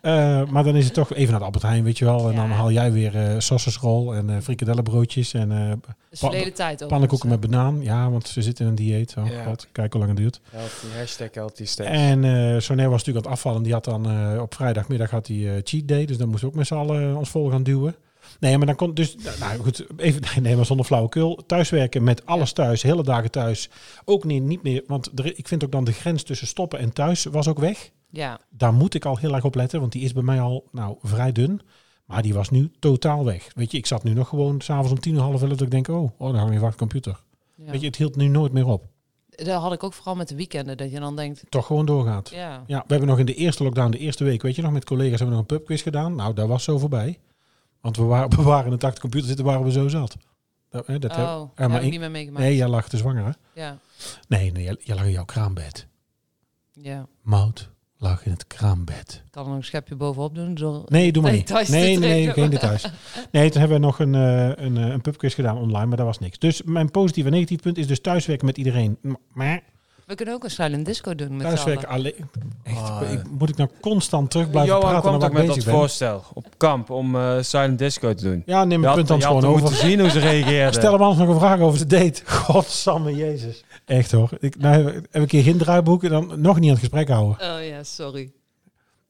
S1: Eh, maar dan is het toch even naar de Albert Heijn, weet je wel. En dan
S2: Ja.
S1: haal jij weer eh sausage en eh frikandellenbroodjes en eh,
S2: Dat is
S1: Pa-
S2: verleden tijd ook.
S1: pannenkoeken met banaan. Ja, want ze zitten in een dieet. Oh
S4: Ja.
S1: god, kijk hoe lang het duurt.
S4: Healthy, hashtag healthy steak.
S1: En eh Soner was natuurlijk aan het afvallen. Die had dan eh, op vrijdagmiddag had hij eh, cheat day. Dus dan moesten we ook met z'n allen eh, ons vol gaan duwen. Nee, maar dan kon dus, nou goed, even, nee, nee, maar zonder flauwekul. Thuiswerken met alles thuis, hele dagen thuis. Ook niet, niet meer, want er- ik vind ook dan de grens tussen stoppen en thuis was ook weg.
S2: Ja,
S1: Daar moet ik al heel erg op letten, want die is bij mij al nou, vrij dun. Maar die was nu totaal weg. Weet je, ik zat nu nog gewoon s'avonds om tien uur half elf dat ik denk, oh, oh dan hang je wacht computer.
S2: ja.
S1: Weet je, het hield nu nooit meer op.
S2: dat had ik ook vooral met de weekenden, dat je dan denkt,
S1: Toch gewoon doorgaat.
S2: ja,
S1: Ja, we hebben nog in de eerste lockdown, de eerste week, weet je nog, met collega's hebben we nog een pubquiz gedaan. Nou, daar was zo voorbij. Want we waren, we waren in het achter computer zitten, waren we zo zat. Dat, hè, dat heb-
S2: oh,
S1: maar
S2: daar heb ik
S1: ik-
S2: niet meer meegemaakt.
S1: nee, jij lag te zwanger, hè?
S2: Ja,
S1: Nee, nee, jij, jij lag in jouw kraambed.
S2: ja.
S1: Mout lag in het kraambed.
S2: Ik kan er nog een schepje bovenop doen. Door...
S1: Nee, doe maar niet.
S2: Details te
S1: Nee, nee, nee,
S2: trekken.
S1: geen details. Nee, toen hebben we nog een, eh, een, eh, een pubquiz gedaan online, maar dat was niks. Dus mijn positief en negatief punt is dus thuiswerken met iedereen. M- Maar
S2: We kunnen ook een silent disco doen met z'n
S1: thuiswerken
S2: allen.
S1: alleen... Echt,
S4: Ah,
S1: ik- moet ik nou constant terug blijven
S4: Johan
S1: praten
S4: kwam
S1: naar
S4: ook
S1: waar ik
S4: met dat
S1: bezig ben?
S4: voorstel op kamp om eh, silent disco te doen.
S1: Ja, neem
S4: Je
S1: mijn
S4: had,
S1: punt dan
S4: je had
S1: gewoon
S4: moeten
S1: over.
S4: zien hoe ze reageerden.
S1: Stel hem anders nog een vraag over zijn date. Godsamme Jezus. Echt hoor. Ik, nou heb, heb ik hier geen draaiboek en dan nog niet aan het gesprek houden.
S2: Oh ja, sorry.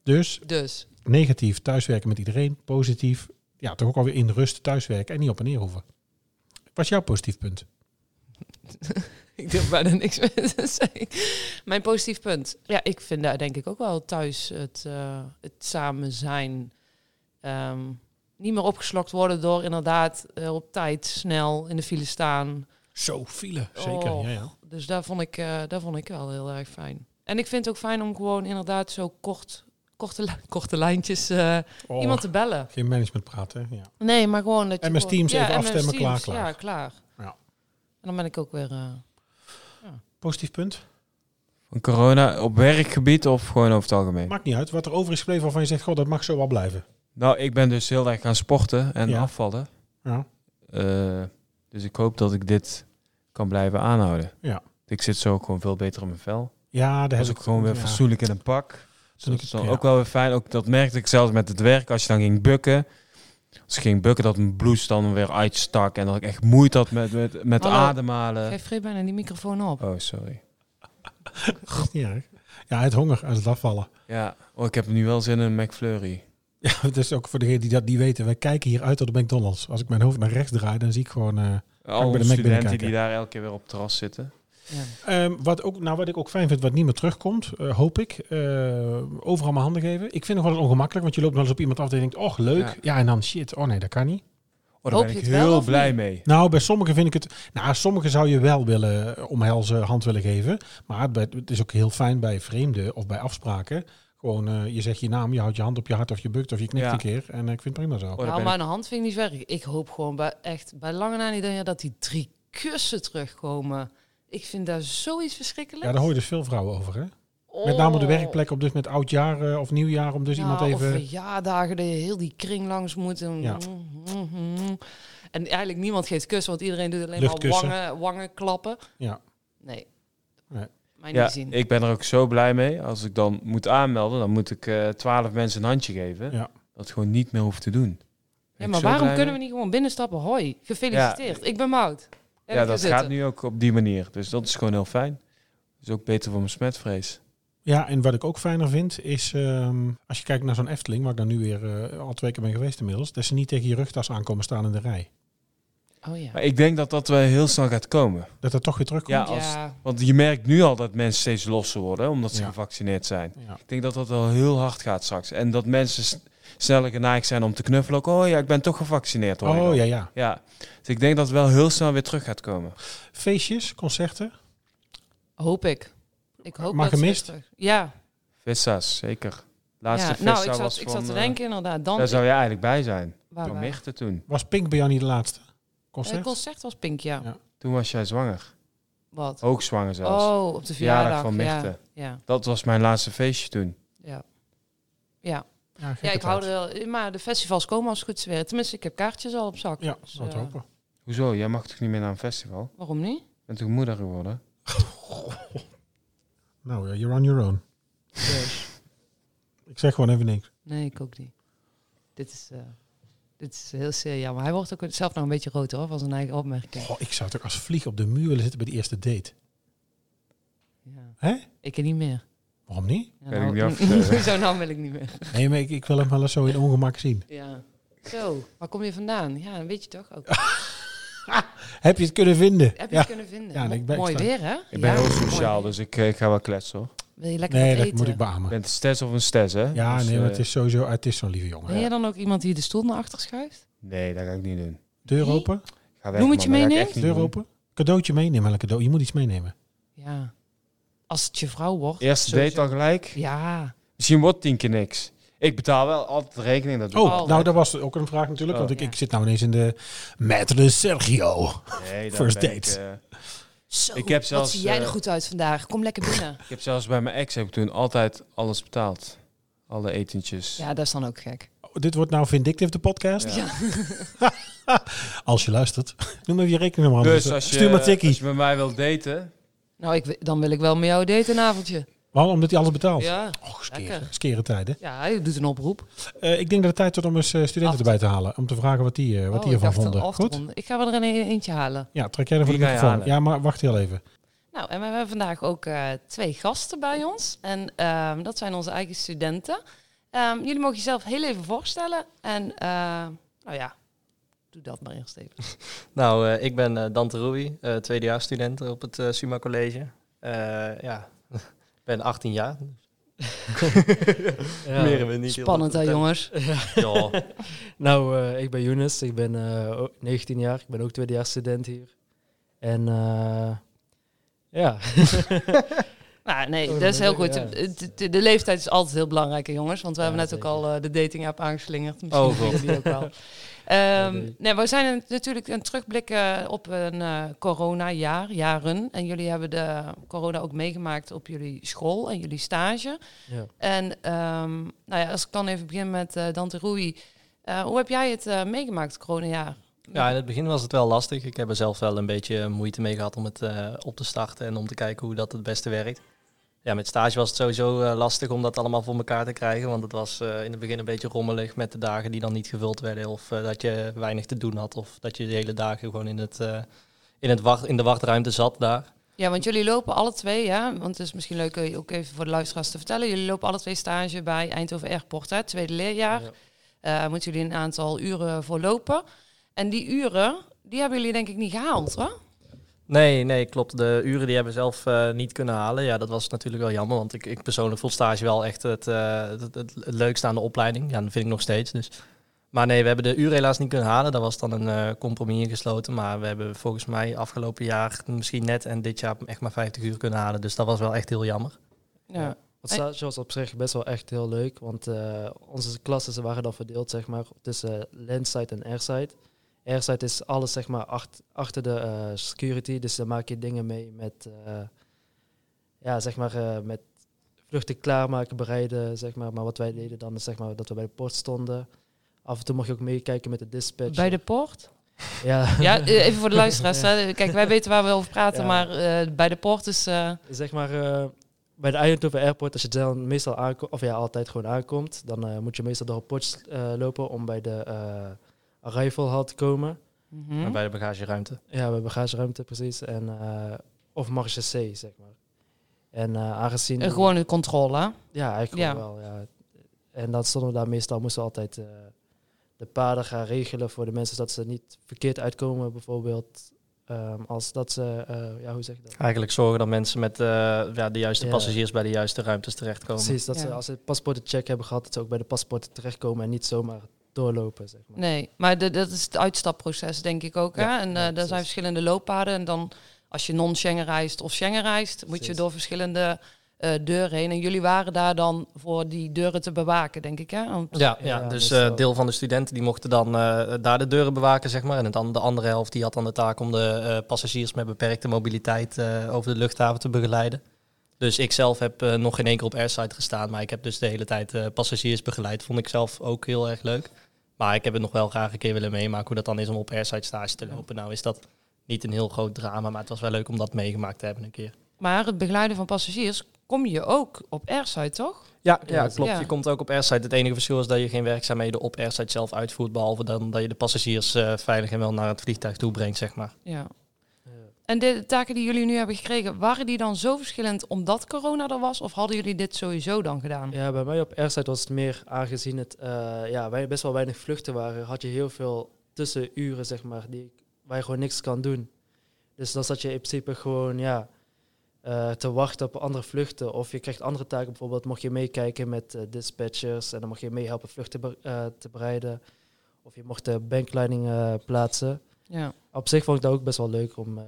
S1: Dus
S2: Dus,
S1: negatief thuiswerken met iedereen. Positief. Ja, toch ook alweer in rust thuiswerken en niet op en neer hoeven. Wat is jouw positief punt?
S2: ik durf bijna niks meer te zeggen. Mijn positief punt. Ja, ik vind daar denk ik ook wel thuis het, eh, het samen zijn. ehm, niet meer opgeslokt worden door inderdaad eh, op tijd snel in de file staan.
S1: Zo file. Zeker.
S2: Oh.
S1: Ja, ja.
S2: Dus daar vond, ik, eh, daar vond ik wel heel erg fijn. En ik vind het ook fijn om gewoon inderdaad zo kort, korte, li- korte lijntjes eh,
S1: Oh,
S2: iemand te bellen.
S1: Geen management praten. hè? Ja.
S2: Nee, maar gewoon dat je...
S1: MS
S2: gewoon-
S1: Teams even
S2: MS
S1: afstemmen, klaar, klaar.
S2: Ja, klaar.
S1: Ja.
S2: En dan ben ik ook weer... eh,
S1: Positief punt.
S4: Van Corona op werkgebied of gewoon over het algemeen?
S1: Maakt niet uit. Wat er over is gebleven waarvan je zegt, god, dat mag zo wel blijven.
S4: Nou, ik ben dus heel erg gaan sporten en
S1: Ja.
S4: afvallen.
S1: Ja.
S4: Eh, dus ik hoop dat ik dit kan blijven aanhouden.
S1: Ja.
S4: Ik zit zo ook gewoon veel beter in mijn vel.
S1: Ja, daar
S4: Was
S1: heb
S4: ik
S1: ik
S4: gewoon weer
S1: ja.
S4: fatsoenlijk in een pak.
S1: Toen ik
S4: Dus Dat is dan
S1: ja.
S4: ook wel weer fijn. Ook, dat merkte ik zelfs met het werk. Als je dan ging bukken. Als ik ging bukken, dat mijn blouse dan weer uitstak. En dat ik echt moeite had met, met, met
S2: Hallo.
S4: ademhalen.
S2: Geef Fred bijna die microfoon op.
S4: Oh, sorry.
S1: Niet erg. Ja, het honger uit het afvallen.
S4: Ja, oh, ik heb nu wel zin in een McFlurry.
S1: Ja, het is ook voor degenen die dat niet weten. Wij kijken hier uit op de McDonald's. Als ik mijn hoofd naar rechts draai, dan zie ik gewoon... eh, bij de
S4: Al de
S1: Mac
S4: studenten die
S1: binnenkijken.
S4: daar elke keer weer op het terras zitten.
S2: Ja.
S1: Ehm, wat, ook, nou, wat ik ook fijn vind, wat niet meer terugkomt, eh, hoop ik. eh, overal mijn handen geven. Ik vind het wel eens ongemakkelijk, want je loopt wel eens op iemand af en je denkt, oh leuk. Ja.
S4: Ja.
S1: en dan shit, oh nee, dat kan niet.
S4: Oh, daar
S2: Hoop
S4: ben
S2: je
S4: ik
S2: het wel
S4: heel
S2: of
S4: blij
S2: niet?
S4: mee.
S1: Nou, bij sommigen vind ik het... Nou, sommigen zou je wel willen eh, omhelzen, hand willen geven. Maar bij- het is ook heel fijn bij vreemden of bij afspraken. Gewoon, eh, je zegt je naam, je houdt je hand op je hart of je bukt of je knikt
S4: Ja.
S1: een keer. En eh, ik vind het prima zo.
S4: Oh, daar
S2: nou,
S4: ben ik-
S2: mijn hand vind ik niet werk. Ik hoop gewoon bij, echt bij lange na niet dat- dat die drie kussen terugkomen. Ik vind daar zoiets verschrikkelijk. Oh.
S1: Ja, daar hoor je dus veel vrouwen over, hè? Met name op de werkplek, op dus met oudjaar eh, of nieuwjaar, om dus
S2: Ja,
S1: iemand even...
S2: Of Nou, verjaardagen, dat je heel die kring langs moet. En,
S1: Ja.
S2: en eigenlijk niemand geeft kussen, want iedereen doet alleen maar
S1: Luchtkussen.
S2: wangen, wangen klappen.
S1: Ja.
S2: Nee.
S1: Nee.
S2: Mij
S4: Ja,
S2: niet zien.
S4: ik ben er ook zo blij mee. Als ik dan moet aanmelden, dan moet ik eh, twaalf mensen een handje geven.
S1: Ja.
S4: Dat gewoon niet meer hoeft te doen.
S2: ja, maar waarom kunnen we niet gewoon binnenstappen? Hoi, gefeliciteerd. Ik ben Mout.
S4: Ja, dat gaat nu ook op die manier. Dus dat is gewoon heel fijn. Dat is ook beter voor mijn smetvrees.
S1: Ja, en wat ik ook fijner vind is, ehm, als je kijkt naar zo'n Efteling, waar ik dan nu weer eh, al twee keer ben geweest inmiddels, dat ze niet tegen je rugtas aankomen staan in de rij.
S2: Oh ja.
S4: Maar ik denk dat dat wel heel snel gaat komen.
S1: Dat dat toch weer terugkomt.
S4: Ja, als,
S2: Ja.
S4: Want je merkt nu al dat mensen steeds losser worden, omdat ze
S1: Ja.
S4: gevaccineerd zijn.
S1: Ja.
S4: Ik denk dat dat wel heel hard gaat straks. En dat mensen s- sneller geneigd zijn om te knuffelen. Ook, oh ja, ik ben toch gevaccineerd hoor. je
S1: Oh
S4: dan.
S1: ja, ja.
S4: Ja, dus ik denk dat het wel heel snel weer terug gaat komen.
S1: Feestjes, concerten.
S2: Hoop ik. Ik hoop
S1: Maar
S2: dat ze
S1: gemist?
S2: weer terug- Ja.
S4: Vissa's, zeker. Laatste
S2: ja.
S4: Vissa
S2: Nou, ik zat,
S4: was
S2: ik
S4: van,
S2: zat te
S4: eh,
S2: denken inderdaad. Dan,
S4: Daar zou je eigenlijk bij zijn.
S2: waar
S4: toen
S2: waren-
S4: Michte toen.
S1: Was Pink bij jou niet de laatste?
S2: Eh,
S1: Concert?
S2: concert was Pink, ja.
S1: Ja.
S4: Toen was jij zwanger.
S2: Wat?
S4: Ook zwanger zelfs.
S2: Oh, op de
S4: Verjaardag
S2: verjaardag.
S4: van Michte.
S2: Ja, ja,
S4: Dat was mijn laatste feestje toen.
S2: ja. Ja,
S1: ja, gekke
S2: ja ik hou
S1: tijd.
S2: er wel... Maar de festivals komen als het goed is weer. Tenminste, ik heb kaartjes al op zak.
S1: Ja,
S2: Dus,
S1: dat
S2: eh,
S1: hopen.
S4: Hoezo? Jij mag toch niet meer naar een festival?
S2: Waarom niet?
S4: Je bent toch moeder geworden?
S1: Nou, ja, you're on your own. Ik zeg gewoon even niks.
S2: Dus, Nee, ik ook niet. Dit is, eh, dit is heel serieus. Ja, maar hij wordt ook zelf nog een beetje rood hoor, van zijn eigen opmerking.
S1: Goh, ik zou toch als vlieg op de muur willen zitten bij de eerste date.
S2: Ja.
S1: Hè?
S2: Ik niet meer.
S1: Waarom niet?
S2: Ja,
S4: Kan ik niet afstellen.
S2: zo nou wil ik niet meer.
S1: Nee, maar ik, ik wil hem wel eens zo in ongemak zien.
S2: Ja. Zo, waar kom je vandaan? Ja, dat weet je toch ook.
S1: Heb je het kunnen vinden?
S2: Heb je
S1: ja.
S2: het kunnen vinden?
S1: Ja, en ik ben-
S2: mooi
S1: ik sta-
S2: weer, hè?
S4: Ik ben
S2: Ja,
S4: heel
S2: mooi
S4: sociaal,
S2: weer.
S4: dus ik, eh, ik ga wel kletsen hoor.
S2: Wil je lekker
S1: Nee,
S2: wat
S1: dat
S2: eten?
S1: moet ik
S4: Je
S1: beamen.
S4: bent een stes of een stes, hè?
S1: Ja,
S4: Dus,
S1: nee, maar
S4: eh,
S1: het is sowieso, het is zo'n lieve jongen.
S2: Ben jij dan ook iemand die de stoel naar achter schuift?
S4: Nee, dat ga ik niet doen.
S1: Deur
S2: Nee?
S1: open,
S4: Ik Ga weg,
S2: Bloemetje
S4: man, dat ga ik
S2: meeneemt?
S4: echt niet
S1: deur
S4: doen.
S1: open. Cadeautje meenemen, wel een cadeau. Je moet iets meenemen.
S2: Ja. Als het je vrouw wordt.
S4: Eerste
S2: sowieso.
S4: date al gelijk.
S2: Ja.
S4: Misschien wordt tien keer niks. Ik betaal wel altijd de rekening. Dat doe ik
S1: Oh,
S2: Oh.
S1: nou, dat was ook een vraag
S4: Oh.
S1: natuurlijk. Want ik,
S2: Ja.
S1: ik zit nou ineens in de Maitre Sergio.
S4: altijd. Nee, dan
S1: First
S4: ben ik,
S1: date.
S4: eh,
S2: Zo,
S4: Ik heb zelfs,
S2: wat zie jij er
S4: eh,
S2: goed uit vandaag. Kom lekker binnen.
S4: ik heb zelfs bij mijn ex heb ik toen altijd alles betaald. Alle etentjes.
S2: Ja, dat is dan ook gek.
S1: Oh, Dit wordt nou Vindictive, de podcast.
S4: Ja.
S2: Ja.
S1: Als je luistert, noem even je rekeningnummer aan. eh,
S4: Dus als je,
S1: Stuur maar
S4: als
S1: tikkie.
S4: je met mij wilt daten,
S2: Nou, ik, wi- dan wil ik wel met jou daten een avondje.
S1: Waarom? Omdat hij alles betaalt.
S2: Ja.
S1: Och, skeren,
S2: Lekker.
S1: skeren tijden.
S2: Ja, hij doet een oproep.
S1: Eh, ik denk dat het tijd wordt om eens eh, studenten
S2: Af te-
S1: erbij te halen. Om te vragen wat die, eh, wat
S2: Oh,
S1: die
S2: ik
S1: ervan
S2: dacht
S1: vonden.
S2: al af te
S1: Goed?
S2: ronden. Ik ga er een e- eentje halen.
S1: Ja, trek jij er voor de
S4: Die ga je
S1: microfoon.
S4: halen.
S1: Ja, maar wacht heel even.
S2: Nou, en we hebben vandaag ook eh, twee gasten bij ons. En ehm, dat zijn onze eigen studenten. Ehm, jullie mogen jezelf heel even voorstellen. En, ehm, nou ja, doe dat maar eerst even.
S5: Nou, eh, ik ben eh, Dante Ruby, eh tweedejaarsstudent op het eh, Suma College. Eh, ja, ik ben 18 jaar. ja. Meer hebben we niet. heel
S2: Spannend hè,
S5: veel te
S2: jongens?
S5: vertellen. Ja.
S6: Nou, eh, ik ben Younes, ik ben eh, ook 19 jaar, ik ben ook tweedejaars student hier. En eh, ja,
S2: Nou, nee,
S6: Oh,
S2: dat is heel goed.
S6: ja.
S2: De, de- de leeftijd is altijd heel belangrijk, hè, jongens. Want we
S6: Ja,
S2: hebben net
S6: zeker.
S2: ook al eh, de dating app aangeslingerd.
S5: Oh,
S2: Misschien oh,
S5: god.
S2: die ook wel. Ehm,
S6: nee.
S2: nee, we zijn een- natuurlijk een terugblikken op een eh corona-jaar, jaren. En jullie hebben de corona ook meegemaakt op jullie school en jullie stage.
S6: ja.
S2: En ehm, nou ja, als ik dan even begin met eh, Dante Rui. Eh, hoe heb jij het eh, meegemaakt, het coronajaar?
S5: ja, in het begin was het wel lastig. Ik heb er zelf wel een beetje moeite mee gehad om het eh, op te starten en om te kijken hoe dat het beste werkt. Ja, met stage was het sowieso eh, lastig om dat allemaal voor elkaar te krijgen. Want het was eh, in het begin een beetje rommelig met de dagen die dan niet gevuld werden. Of eh, dat je weinig te doen had. Of dat je de hele dagen gewoon in, het, eh, in, het wacht, in de wachtruimte zat daar.
S2: Ja, want jullie lopen alle twee, hè? want het is misschien leuk eh, ook even voor de luisteraars te vertellen. Jullie lopen alle twee stage bij Eindhoven Airport, hè? tweede leerjaar.
S6: Ja.
S2: Eh, moeten jullie een aantal uren voor lopen. En die uren, die hebben jullie denk ik niet gehaald, hè?
S5: Nee, nee, klopt. De uren die hebben we zelf eh, niet kunnen halen. Ja, dat was natuurlijk wel jammer, want ik, ik persoonlijk vond stage wel echt het, eh, het, het- het leukste aan de opleiding. Ja, dat vind ik nog steeds. Dus. Maar nee, we hebben de uren helaas niet kunnen halen. Daar was dan een eh, compromis in gesloten. Maar we hebben volgens mij afgelopen jaar misschien net en dit jaar echt maar 50 uur kunnen halen. Dus dat was wel echt heel jammer.
S2: Ja.
S6: Want stage was op zich best wel echt heel leuk, want eh, onze klassen ze waren dan verdeeld zeg maar, tussen landside en airside. Airside is alles zeg maar acht- achter de eh, security, dus dan maak je dingen mee met, eh, ja, zeg maar, eh, met vluchten klaarmaken, bereiden. Zeg maar. maar wat wij deden dan is zeg maar, dat we bij de poort stonden. Af en toe mocht je ook meekijken met de dispatch.
S2: Bij de poort?
S6: Ja,
S2: Ja, eh, even voor de luisteraars. Hè? Kijk, wij weten waar we over praten,
S6: Ja.
S2: maar eh, bij de poort is... eh,
S6: zeg maar eh, bij de Eindhoven Airport, als je dan meestal aankomt, of ja, altijd gewoon aankomt, dan eh, moet je meestal door een ports eh, lopen om bij de eh arrival hall te komen.
S2: mhm.
S5: Bij de bagageruimte.
S6: Ja, bij bagageruimte precies. En, eh, of marge C, zeg maar. En eh, aangezien...
S2: Eh, gewoon een controle, hè?
S6: Ja, eigenlijk
S2: Ja.
S6: wel, ja. En dan stonden we daar meestal, moesten we altijd eh, de paden gaan regelen voor de mensen, dat ze niet verkeerd uitkomen, bijvoorbeeld. Ehm, als dat ze, eh, ja, hoe zeg je dat?
S5: Eigenlijk zorgen dat mensen met eh, ja, de juiste
S6: Ja.
S5: passagiers bij de juiste ruimtes terechtkomen.
S6: Precies, Dus dat
S2: Ja.
S6: ze als ze paspoorten check hebben gehad, dat ze ook bij de paspoorten terechtkomen en niet zomaar doorlopen. Zeg maar.
S2: Nee, maar de- dat is het uitstapproces, denk ik ook. Hè?
S6: Ja,
S2: en eh
S6: ja,
S2: daar
S6: precies.
S2: zijn verschillende looppaden. En dan, als je non-Schengen reist of Schengen reist, moet je
S6: Precies.
S2: door verschillende eh, deuren heen. En jullie waren daar dan voor die deuren te bewaken, denk ik. Hè? Want-
S5: Ja,
S6: Ja,
S5: ja, dus
S6: meestal.
S5: eh, deel van de studenten die mochten dan eh, daar de deuren bewaken, zeg maar. En het an- de andere helft die had dan de taak om de eh, passagiers met beperkte mobiliteit eh, over de luchthaven te begeleiden. Dus ik zelf heb eh, nog geen enkel op airside gestaan, maar ik heb dus de hele tijd eh, passagiers begeleid. Vond ik zelf ook heel erg leuk. Maar ik heb het nog wel graag een keer willen meemaken hoe dat dan is om op airside stage te lopen. Nou is dat niet een heel groot drama, maar het was wel leuk om dat meegemaakt te hebben een keer.
S2: Maar het begeleiden van passagiers kom je ook op airside, toch?
S5: Ja,
S6: Ja,
S5: ja
S6: dat is-
S5: klopt.
S2: ja.
S5: Je komt ook op airside. Het enige verschil is dat je geen werkzaamheden op airside zelf uitvoert, behalve dan dat je de passagiers eh, veilig en wel naar het vliegtuig toe brengt, zeg maar.
S2: Ja. En de taken die jullie nu hebben gekregen, waren die dan zo verschillend omdat corona er was? Of hadden jullie dit sowieso dan gedaan?
S6: Ja, bij mij op airside was het meer aangezien het eh, ja, wij best wel weinig vluchten waren, had je heel veel tussenuren, zeg maar, die, ik- waar je gewoon niks kan doen. Dus dan zat je in principe gewoon ja, eh, te wachten op andere vluchten. Of je krijgt andere taken, bijvoorbeeld mocht je meekijken met eh, dispatchers en dan mocht je meehelpen vluchten be- eh, te bereiden. Of je mocht de bankleiding eh, plaatsen.
S2: Ja.
S6: Op zich vond ik dat ook best wel leuk om eh,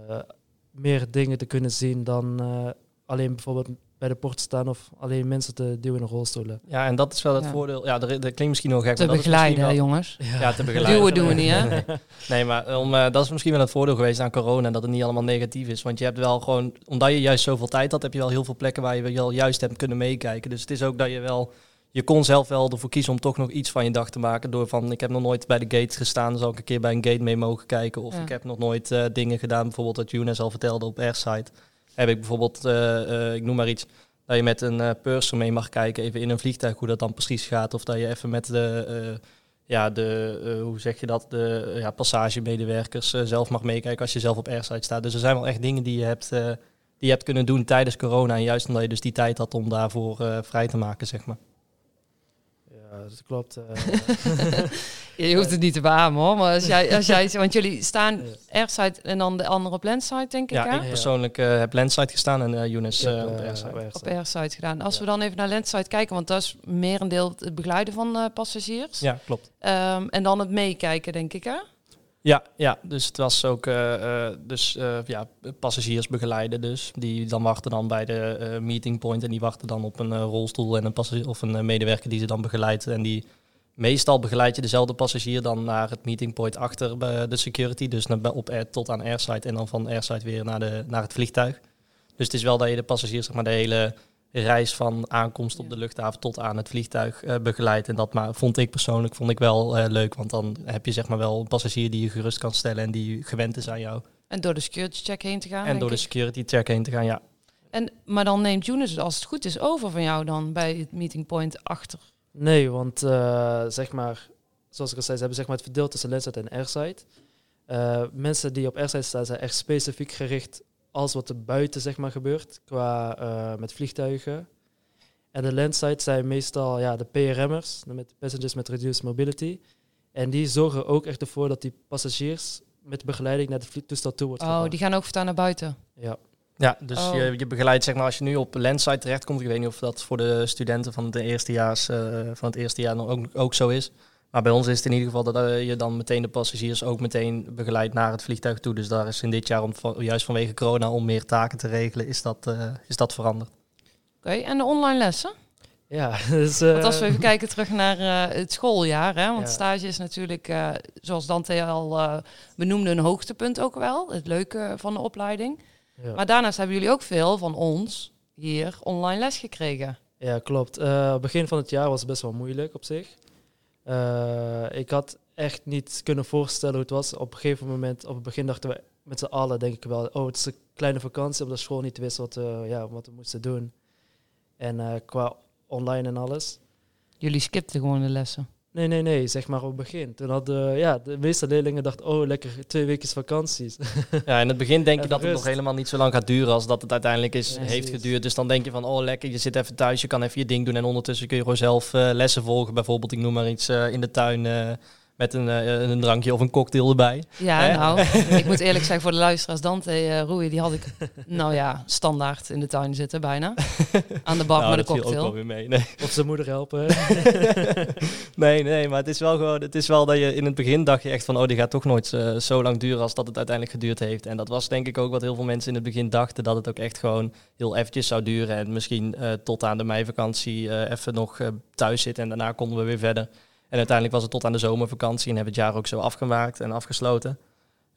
S6: meer dingen te kunnen zien dan eh, alleen bijvoorbeeld bij de poort staan of alleen mensen te duwen in rolstoelen.
S5: Ja, en dat is wel het
S2: Ja.
S5: voordeel. Ja, dat, dat klinkt misschien wel gek.
S2: Te
S5: maar dat is misschien
S2: begeleiden, hè,
S5: wel-
S2: jongens.
S5: Ja, te begeleiden.
S2: Duwen doen we niet, hè?
S5: Nee, maar om, eh, dat is misschien wel het voordeel geweest aan corona, dat het niet allemaal negatief is. Want je hebt wel gewoon, omdat je juist zoveel tijd had, heb je wel heel veel plekken waar je wel juist hebt kunnen meekijken. Dus het is ook dat je wel, je kon zelf wel ervoor kiezen om toch nog iets van je dag te maken. Door van, ik heb nog nooit bij de gate gestaan, dus zal ik een keer bij een gate mee mogen kijken. Of
S2: Ja.
S5: ik heb nog nooit eh, dingen gedaan, bijvoorbeeld wat Younes al vertelde op Airside. Heb ik bijvoorbeeld, eh, eh, ik noem maar iets, dat je met een eh purser mee mag kijken, even in een vliegtuig, hoe dat dan precies gaat. Of dat je even met de... eh, ja, de, eh, hoe zeg je dat, de eh, ja, passagemedewerkers eh, zelf mag meekijken als je zelf op airside staat. Dus er zijn wel echt dingen die je hebt, eh, die je hebt kunnen doen tijdens corona. En juist omdat je dus die tijd had om daarvoor eh, vrij te maken, zeg maar.
S6: Ja, dat klopt. eh.
S2: Je hoeft het niet te beamen hoor, maar als jij, als jij, want jullie staan
S6: Ja.
S2: airside en dan de andere op landside denk ik
S5: Ja,
S2: hè?
S5: ik persoonlijk eh, heb landside gestaan en eh Younes
S6: Ik heb,
S5: eh, op
S6: eh,
S5: airside.
S6: op airside.
S2: op airside gedaan. Als
S6: Ja.
S2: we dan even naar landside kijken, want dat is merendeel het begeleiden van eh, passagiers.
S5: Ja, klopt.
S2: Ehm, en dan het meekijken denk ik hè?
S5: Ja, ja, dus het was ook eh, eh, dus, eh, ja, passagiers begeleiden dus. Die dan wachten dan bij de eh, meeting point en die wachten dan op een eh, rolstoel en een, passagier, of een eh, medewerker die ze dan begeleidt. En die meestal begeleid je dezelfde passagier dan naar het meeting point achter bij de security. Dus naar, bij- op air, tot aan airside en dan van airside weer naar, de, naar het vliegtuig. Dus het is wel dat je de passagier zeg maar, de hele reis van aankomst op
S2: Ja.
S5: de luchthaven tot aan het vliegtuig eh, begeleidt. En dat maar, vond ik persoonlijk vond ik wel eh, leuk. Want dan heb je zeg maar, wel een passagier die je gerust kan stellen en die gewend is aan jou.
S2: En door de security check heen te gaan.
S5: en
S2: denk
S5: door de
S2: ik.
S5: security check heen te gaan, ja.
S2: en, maar dan neemt Younes het als het goed is over van jou dan bij het meeting point achter.
S6: Nee, want eh, zeg maar, zoals ik al zei, ze hebben zeg maar het verdeeld tussen landside en airside. Eh, mensen die op airside staan zijn echt specifiek gericht als wat er buiten zeg maar gebeurt, qua eh, met vliegtuigen. En de landside zijn meestal ja, de PRM'ers, de met passengers met reduced mobility. En die zorgen ook echt ervoor dat die passagiers met begeleiding naar het vliegtoestel toe wordt
S2: Oh,
S6: gebracht.
S2: die gaan ook voortaan naar buiten.
S6: Ja.
S5: Ja, dus
S2: Oh.
S5: je, je begeleidt, zeg maar, als je nu op landsite terechtkomt. Ik weet niet of dat voor de studenten van, de eerstejaars, eh, van het eerste jaar dan ook, ook zo is. Maar bij ons is het in ieder geval dat eh, je dan meteen de passagiers ook meteen begeleidt naar het vliegtuig toe. Dus daar is in dit jaar, om, van- juist vanwege corona, om meer taken te regelen, is dat, eh, is dat veranderd.
S2: Oké, en de online lessen?
S5: Eh,
S6: Ja, dus... eh,
S2: Want als we even kijken terug naar eh, het schooljaar, hè, want
S6: Ja.
S2: stage is natuurlijk, eh, zoals Dante al eh, benoemde, een hoogtepunt ook wel. Het leuke van de opleiding.
S6: ja.
S2: Maar daarnaast hebben jullie ook veel van ons hier online les gekregen.
S6: Ja, klopt. Eh, begin van het jaar was het best wel moeilijk op zich. Eh, ik had echt niet kunnen voorstellen hoe het was. Op een gegeven moment, op het begin dachten we met z'n allen, denk ik wel, oh, het is een kleine vakantie, omdat school niet wist wat, we- ja, wat we moesten doen. En eh, qua online en alles.
S2: Jullie skipten gewoon de lessen.
S6: Nee, nee, nee, zeg maar op het begin. Toen hadden ja, de meeste leerlingen dachten, oh, lekker twee weken vakanties.
S5: Ja, in het begin denk je
S6: Even
S5: dat het
S6: rust.
S5: nog helemaal niet zo lang gaat duren als dat het uiteindelijk is,
S6: Ja,
S5: heeft
S6: precies.
S5: geduurd. Dus dan denk je van, oh lekker, je zit even thuis, je kan even je ding doen. En ondertussen kun je gewoon zelf eh, lessen volgen. Bijvoorbeeld, ik noem maar iets, eh, in de tuin eh, met een, eh, een drankje of een cocktail erbij.
S2: Ja,
S5: Hè?
S2: nou, ik moet eerlijk zeggen voor de luisteraars, Dante eh Roei, die had ik, nou ja, standaard in de tuin zitten bijna. Aan de bar
S5: Nou,
S2: met een
S5: dat viel ook wel
S2: cocktail.
S5: weer mee. Nee.
S6: Of zijn moeder helpen.
S5: eh. nee, nee, maar het is wel gewoon, het is wel dat je in het begin dacht je echt van, oh, die gaat toch nooit eh, zo lang duren als dat het uiteindelijk geduurd heeft. En dat was denk ik ook wat heel veel mensen in het begin dachten, dat het ook echt gewoon heel eventjes zou duren en misschien eh, tot aan de meivakantie eh, even nog eh, thuis zitten en daarna konden we weer verder. En uiteindelijk was het tot aan de zomervakantie en hebben we het jaar ook zo afgemaakt en afgesloten.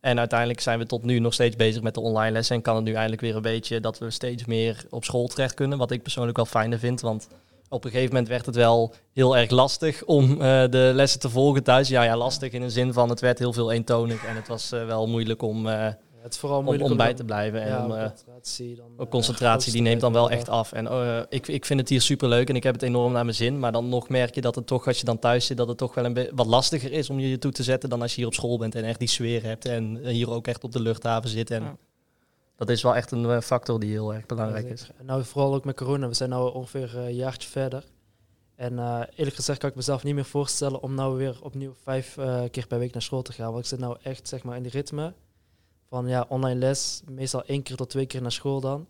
S5: En uiteindelijk zijn we tot nu nog steeds bezig met de online lessen. En kan het nu eindelijk weer een beetje dat we steeds meer op school terecht kunnen. Wat ik persoonlijk wel fijner vind. Want op een gegeven moment werd het wel heel erg lastig om eh, de lessen te volgen thuis. Ja, ja, lastig in de zin van het werd heel veel eentonig. En het was eh, wel moeilijk om, eh,
S6: het is vooral
S5: om,
S6: moeilijk
S5: om bij te blijven. En
S6: ja,
S5: om, eh,
S6: concentratie, dan,
S5: ook
S6: eh,
S5: concentratie die neemt dan wel echt
S6: concentratie,
S5: af. En eh, ik, ik vind het hier super leuk en ik heb het enorm naar mijn zin. Maar dan nog merk je dat het toch, als je dan thuis zit, dat het toch wel een be- wat lastiger is om je je toe te zetten dan als je hier op school bent en echt die sfeer hebt. En eh, hier ook echt op de luchthaven zit. En
S2: Ja.
S5: Dat is wel echt een eh, factor die heel erg belangrijk is.
S6: En nou, vooral ook met corona. We zijn nu ongeveer eh, een jaartje verder. En eh, eerlijk gezegd kan ik mezelf niet meer voorstellen om nou weer opnieuw vijf eh, keer per week naar school te gaan. Want ik zit nou echt zeg maar in die ritme van ja, online les, meestal één keer tot twee keer naar school dan.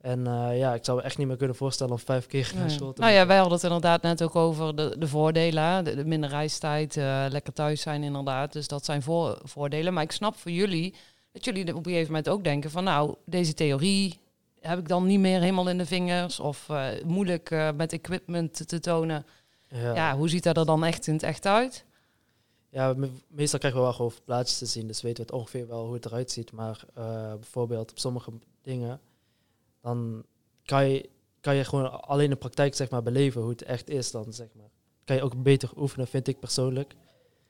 S6: En eh, ja, ik zou me echt niet meer kunnen voorstellen om vijf keer naar
S2: Nee.
S6: school te
S2: Nou ja,
S6: moeten.
S2: wij hadden het inderdaad net ook over de, de voordelen. hè. De, de minder reistijd, eh, lekker thuis zijn inderdaad. Dus dat zijn voor, voordelen. Maar ik snap voor jullie dat jullie op een gegeven moment ook denken van... nou, deze theorie heb ik dan niet meer helemaal in de vingers. Of eh, moeilijk eh, met equipment te- te tonen. Ja. hoe ziet dat er dan echt in het echt uit?
S6: Ja, me- meestal krijgen we wel gewoon plaatjes te zien, dus weten we het ongeveer wel hoe het eruit ziet. Maar eh, bijvoorbeeld op sommige dingen, dan kan je, kan je gewoon alleen de praktijk zeg maar, beleven hoe het echt is dan, zeg maar. Kan je ook beter oefenen, vind ik persoonlijk.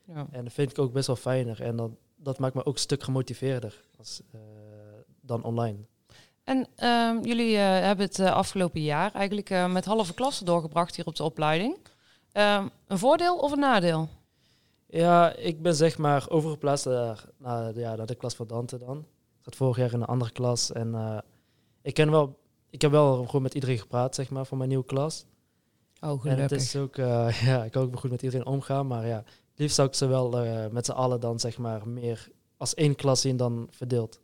S2: Ja.
S6: En dat vind ik ook best wel fijner. En dan, dat maakt me ook een stuk gemotiveerder als, eh, dan online.
S2: En ehm, jullie eh, hebben het eh, afgelopen jaar eigenlijk eh, met halve klassen doorgebracht hier op de opleiding. Ehm, een voordeel of een nadeel?
S6: Ja, ik ben zeg maar overgeplaatst naar, naar, ja, naar de klas van Dante dan. Ik zat vorig jaar in een andere klas en eh, ik, ken wel, ik heb wel goed met iedereen gepraat zeg maar, voor mijn nieuwe klas.
S2: Oh,
S6: En het is ook, eh, ja, ik kan ook wel goed met iedereen omgaan, maar ja, het liefst zou ik ze wel eh, met z'n allen dan zeg maar meer als één klas zien dan verdeeld.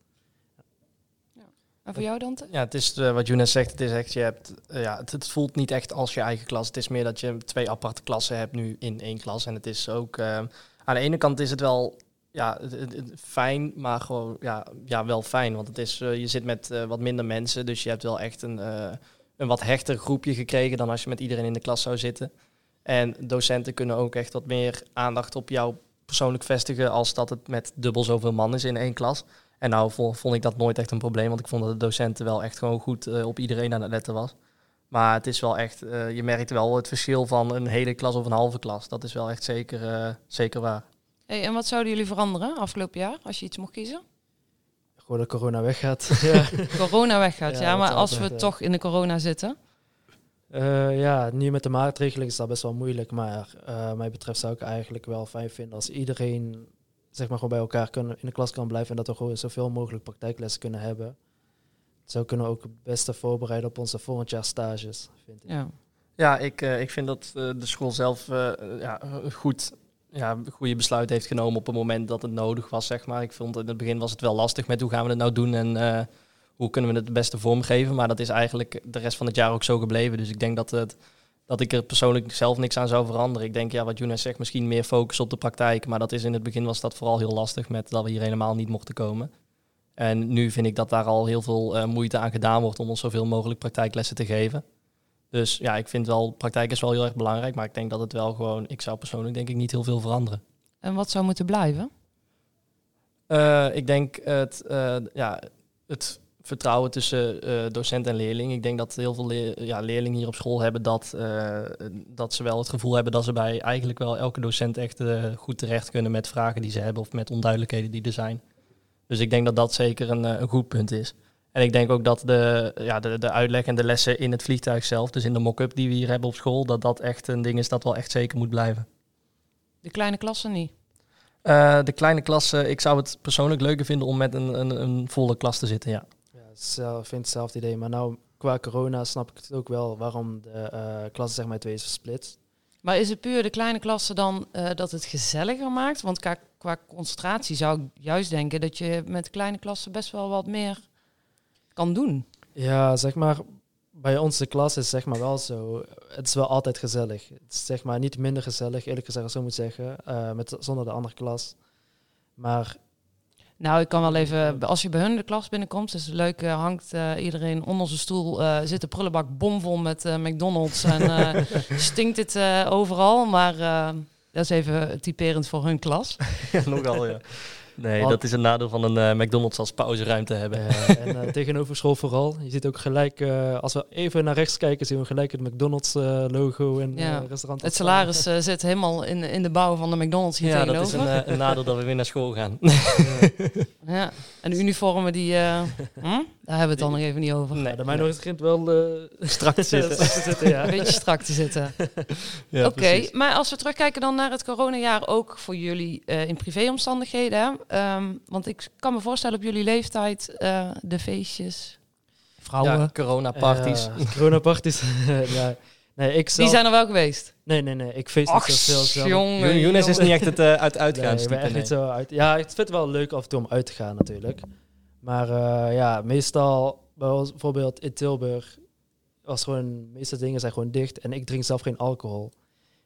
S2: En voor jou, Dante?
S5: Ja, het is eh, wat Younes zegt. Het is echt, je hebt, eh, ja, het, het voelt niet echt als je eigen klas. Het is meer dat je twee aparte klassen hebt nu in één klas. En het is ook, eh, aan de ene kant is het wel ja, het- het- het- fijn, maar gewoon, ja, ja, wel fijn. Want het is, eh, je zit met eh, wat minder mensen, dus je hebt wel echt een, eh, een wat hechter groepje gekregen dan als je met iedereen in de klas zou zitten. En docenten kunnen ook echt wat meer aandacht op jou persoonlijk vestigen als dat het met dubbel zoveel man is in één klas. En nou vo- vond ik dat nooit echt een probleem, want ik vond dat de docenten wel echt gewoon goed eh, op iedereen aan het letten was. Maar het is wel echt, eh, je merkt wel het verschil van een hele klas of een halve klas. Dat is wel echt zeker, eh, zeker waar.
S2: Hey, en wat zouden jullie veranderen afgelopen jaar als je iets mocht kiezen?
S6: Gewoon dat corona weggaat. ja.
S2: Corona weggaat, ja,
S6: Ja, dat
S2: maar
S6: zou
S2: als
S6: het
S2: we
S6: zijn, ja.
S2: toch in de corona zitten.
S6: Eh, ja, nu met de maatregelen is dat best wel moeilijk. Maar eh mij betreft zou ik eigenlijk wel fijn vinden als iedereen zeg maar, gewoon bij elkaar kunnen, in de klas kan blijven. En dat we gewoon zoveel mogelijk praktijklessen kunnen hebben. Zo kunnen we ook het beste voorbereiden op onze volgend jaar stages, vind ik.
S2: Ja.
S5: Ja, ik, eh, ik vind dat eh, de school zelf eh, eh, ja, eh, goed, ja, een goede besluit heeft genomen op het moment dat het nodig was, zeg maar. Ik vond in het begin was het wel lastig met hoe gaan we het nou doen en eh, hoe kunnen we het het beste vormgeven. Maar dat is eigenlijk de rest van het jaar ook zo gebleven. Dus ik denk dat, het, dat ik er persoonlijk zelf niks aan zou veranderen. Ik denk, ja, wat Jonas zegt, misschien meer focus op de praktijk. Maar dat is in het begin was dat vooral heel lastig met dat we hier helemaal niet mochten komen. En nu vind ik dat daar al heel veel eh, moeite aan gedaan wordt om ons zoveel mogelijk praktijklessen te geven. Dus ja, ik vind wel, praktijk is wel heel erg belangrijk, maar ik denk dat het wel gewoon, ik zou persoonlijk denk ik niet heel veel veranderen.
S2: En wat zou moeten blijven?
S5: Eh, ik denk het, eh, ja, het vertrouwen tussen eh, docent en leerling. Ik denk dat heel veel leer- ja, leerlingen hier op school hebben dat, eh, dat ze wel het gevoel hebben dat ze bij eigenlijk wel elke docent echt eh, goed terecht kunnen met vragen die ze hebben of met onduidelijkheden die er zijn. Dus ik denk dat dat zeker een, eh, een goed punt is. En ik denk ook dat de, ja, de, de uitleg en de lessen in het vliegtuig zelf, dus in de mock-up die we hier hebben op school, dat dat echt een ding is dat wel echt zeker moet blijven.
S2: De kleine klassen niet.
S5: Eh, de kleine klassen, ik zou het persoonlijk leuker vinden om met een, een, een volle klas te zitten, ja.
S6: Ja, zelf, ik vind hetzelfde idee. Maar nou, qua corona snap ik het ook wel waarom de eh klassen zeg maar twee is versplitst.
S2: Maar is het puur de kleine klassen dan eh, dat het gezelliger maakt? Want qua, qua concentratie zou ik juist denken dat je met kleine klassen best wel wat meer kan doen.
S6: Ja, zeg maar, bij onze klas is zeg maar wel zo. Het is wel altijd gezellig. Het is zeg maar niet minder gezellig, eerlijk gezegd, zo moet ik zeggen, eh, met, zonder de andere klas. Maar
S2: Nou, ik kan wel even, als je bij hun de klas binnenkomt, is het leuk, eh, hangt eh, iedereen onder zijn stoel, eh, zit de prullenbak bomvol met eh, McDonald's en eh, stinkt het eh, overal. Maar eh, dat is even typerend voor hun klas.
S5: Nogal, ja. Nee,
S6: Want-
S5: dat is een nadeel van een eh, McDonald's als pauzeruimte hebben.
S6: eh, en, eh, tegenover school vooral. Je ziet ook gelijk, eh, als we even naar rechts kijken, zien we gelijk het McDonald's-logo en
S2: Ja.
S6: eh, restaurant.
S2: Het salaris eh, zit helemaal in, in de bouw van de McDonald's hier
S5: Ja, dat is
S2: tegenover.
S5: een, eh, een nadeel dat we weer naar school gaan.
S2: Ja. En de uniformen die... eh, hm? Daar hebben we het dan nog even niet over.
S5: Nee,
S6: Ja, de mijnheid begint wel eh,
S5: strak te zitten.
S6: te zitten, ja.
S2: Een beetje strak te zitten.
S5: Ja,
S2: Oké,
S5: precies.
S2: maar als we terugkijken dan naar het coronajaar, ook voor jullie eh, in privéomstandigheden. hè? Ehm, want ik kan me voorstellen op jullie leeftijd, eh, de feestjes, vrouwen.
S5: Ja, coronaparties.
S6: Ja, coronaparties. ja. Nee, ik
S2: Die
S6: zelf...
S2: zijn er wel geweest.
S6: Nee, nee, nee. Ik feest niet
S2: Och,
S6: zoveel zelf.
S2: jongen.
S5: Jonas is
S2: jongen.
S5: niet echt het eh, uit
S6: Nee, ik
S5: uitgaanstype.
S6: ben echt
S5: nee.
S6: niet zo uit. Ja, ik vind het wel leuk af en toe om uit te gaan natuurlijk. Maar eh, ja, meestal, bij ons bijvoorbeeld in Tilburg, was gewoon, de meeste dingen zijn gewoon dicht. En ik drink zelf geen alcohol.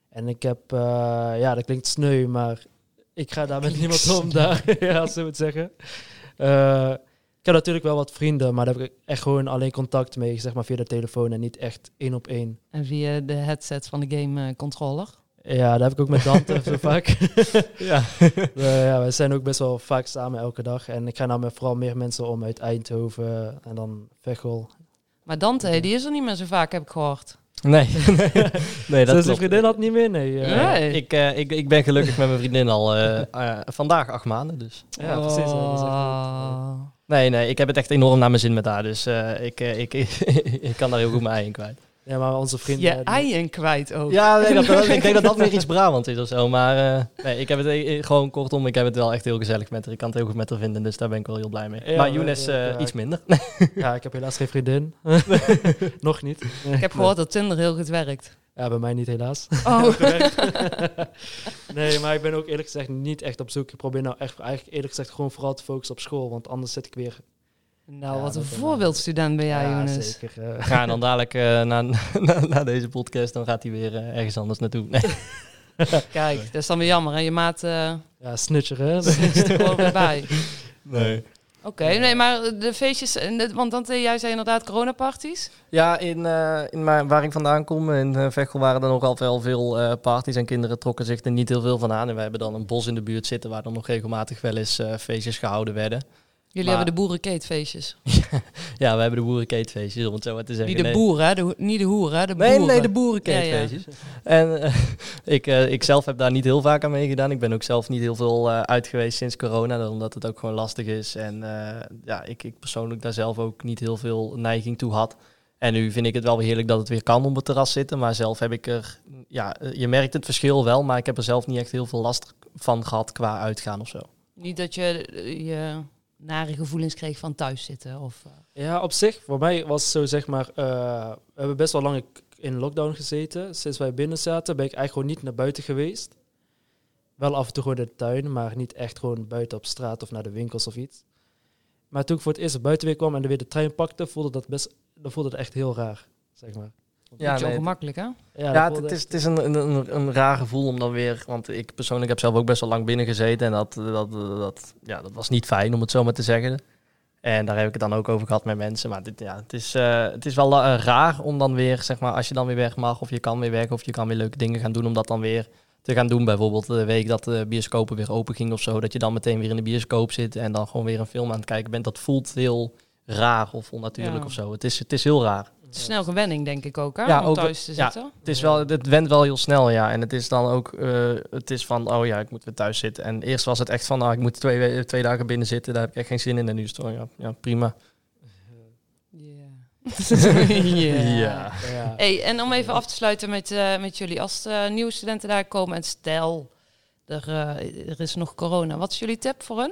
S6: En ik heb, eh, ja, dat klinkt sneu, maar ik ga daar met niemand om daar, ja, als ze het zeggen. Eh, ik heb natuurlijk wel wat vrienden, maar daar heb ik echt gewoon alleen contact mee, zeg maar via de telefoon en niet echt één op één.
S2: En via de headset van de game eh, controller.
S6: Ja, dat heb ik ook met Dante zo vaak.
S5: Ja.
S6: Eh, ja, we zijn ook best wel vaak samen elke dag. En ik ga nou met vooral meer mensen om uit Eindhoven en dan Veghel.
S2: Maar Dante, die is er niet meer zo vaak, heb ik gehoord.
S5: Nee, nee dat
S6: Dus de
S5: klopt.
S6: vriendin had niet meer, nee. eh.
S2: Ja.
S5: Nee, Ik, eh, ik, ik ben gelukkig met mijn vriendin al eh, eh, vandaag acht maanden. Dus.
S6: Ja, precies, hè, dat is echt
S2: Oh.
S5: Nee, nee, ik heb het echt enorm naar mijn zin met haar. Dus eh, ik, eh, ik, ik kan daar heel goed mijn ei in kwijt.
S6: Ja, maar onze eh,
S2: Je
S6: vrienden...
S2: eieren kwijt ook.
S5: Ja, nee, dat, dat- ik denk dat dat weer iets Brabant is of zo. Maar eh, nee, ik heb het eh, eh, gewoon kortom, ik heb het wel echt heel gezellig met haar. Ik kan het heel goed met haar vinden, dus daar ben ik wel heel blij mee.
S6: Ja,
S5: maar
S6: we-
S5: Younes
S6: we-
S5: eh,
S6: ja,
S5: iets
S6: ik-
S5: minder.
S6: Ja, ik heb helaas geen vriendin. Nog niet.
S2: Ik heb gehoord dat Tinder heel goed werkt.
S6: Ja, bij mij niet helaas.
S2: Oh,
S6: nee, maar ik ben ook eerlijk gezegd niet echt op zoek. Ik probeer nou echt, eigenlijk eerlijk gezegd gewoon vooral te focussen op school. Want anders zit ik weer...
S2: nou
S6: Ja,
S2: wat een
S6: dat-
S2: voorbeeldstudent ben jij, Jonas.
S6: zeker. eh.
S5: Ga en dan dadelijk eh, na, na, na deze podcast, dan gaat hij weer eh, ergens anders naartoe. Nee.
S2: Kijk, dat is dan weer jammer. Hè? Je maat eh,
S6: ja, snitcher, hè?
S2: zit er gewoon weer bij. Oké,
S5: nee.
S2: nee, maar de feestjes... en dit- Want Dante, jij zei inderdaad coronaparties.
S5: Ja, in, eh, in mijn- waar ik vandaan kom, in eh, Veghel, waren er nogal wel veel eh, parties. En kinderen trokken zich er niet heel veel van aan. En wij hebben dan een bos in de buurt zitten waar dan nog regelmatig wel eens eh, feestjes gehouden werden.
S2: Jullie
S5: Maar-
S2: hebben de boerenkeetfeestjes.
S5: Ja, we hebben de boerenkeetfeestjes, om het zo maar te zeggen.
S2: Niet de
S5: Nee.
S2: boeren, hè? De ho- niet de hoeren, hè? De
S5: Nee,
S2: boeren.
S5: nee, de boerenkeetfeestjes. En eh, ik, eh, ik zelf heb daar niet heel vaak aan meegedaan. Ik ben ook zelf niet heel veel eh, uit geweest sinds corona, omdat het ook gewoon lastig is. En eh, ja, ik, ik persoonlijk daar zelf ook niet heel veel neiging toe had. En nu vind ik het wel weer heerlijk dat het weer kan op het terras zitten. Maar zelf heb ik er, ja, eh, je merkt het verschil wel, maar ik heb er zelf niet echt heel veel last van gehad qua uitgaan of zo.
S2: Niet dat je eh, je nare gevoelens kreeg van thuis zitten. Of, eh,
S6: Ja, op zich, voor mij was het zo zeg maar, eh, we hebben best wel lang in- in lockdown gezeten. Sinds wij binnen zaten ben ik eigenlijk gewoon niet naar buiten geweest. Wel af en toe gewoon in de tuin, maar niet echt gewoon buiten op straat of naar de winkels of iets. Maar toen ik voor het eerst buiten weer kwam en weer de trein pakte, voelde dat best, dan voelde het echt heel raar, zeg maar.
S2: ja, beetje ongemakkelijk, hè?
S6: dat
S5: Ja, het,
S6: voelde
S5: het is,
S6: echt-
S5: het is een, een, een, een raar gevoel om dan weer. Want ik persoonlijk heb zelf ook best wel lang binnen gezeten. En dat, dat, dat, ja, dat was niet fijn, om het zo maar te zeggen. En daar heb ik het dan ook over gehad met mensen. Maar dit, ja, het, is, eh, het is wel la- eh, raar om dan weer, zeg maar, als je dan weer weg mag. Of je kan weer weg. Of je kan weer leuke dingen gaan doen. Om dat dan weer te gaan doen. Bijvoorbeeld eh, de week dat de bioscopen weer open gingen of zo. Dat je dan meteen weer in de bioscoop zit. En dan gewoon weer een film aan het kijken bent. Dat voelt heel raar of onnatuurlijk
S2: Ja.
S5: of zo. Het is, het is heel raar.
S2: Het is snel gewenning, denk ik ook, hè?
S5: Ja,
S2: om
S5: ook-
S2: thuis te
S5: ja.
S2: zitten.
S5: Het, is wel, het went wel heel snel, ja. En het is dan ook, eh, het is van, oh ja, ik moet weer thuis zitten. En eerst was het echt van, nou, ik moet twee, we- twee dagen binnen zitten. Daar heb ik echt geen zin in. En nu is het gewoon, ja, ja prima.
S2: Ja.
S6: Ja.
S2: Hey, en om even af te sluiten met, eh, met jullie. Als eh, nieuwe studenten daar komen en stel, er, eh, er is nog corona. Wat is jullie tip voor hun?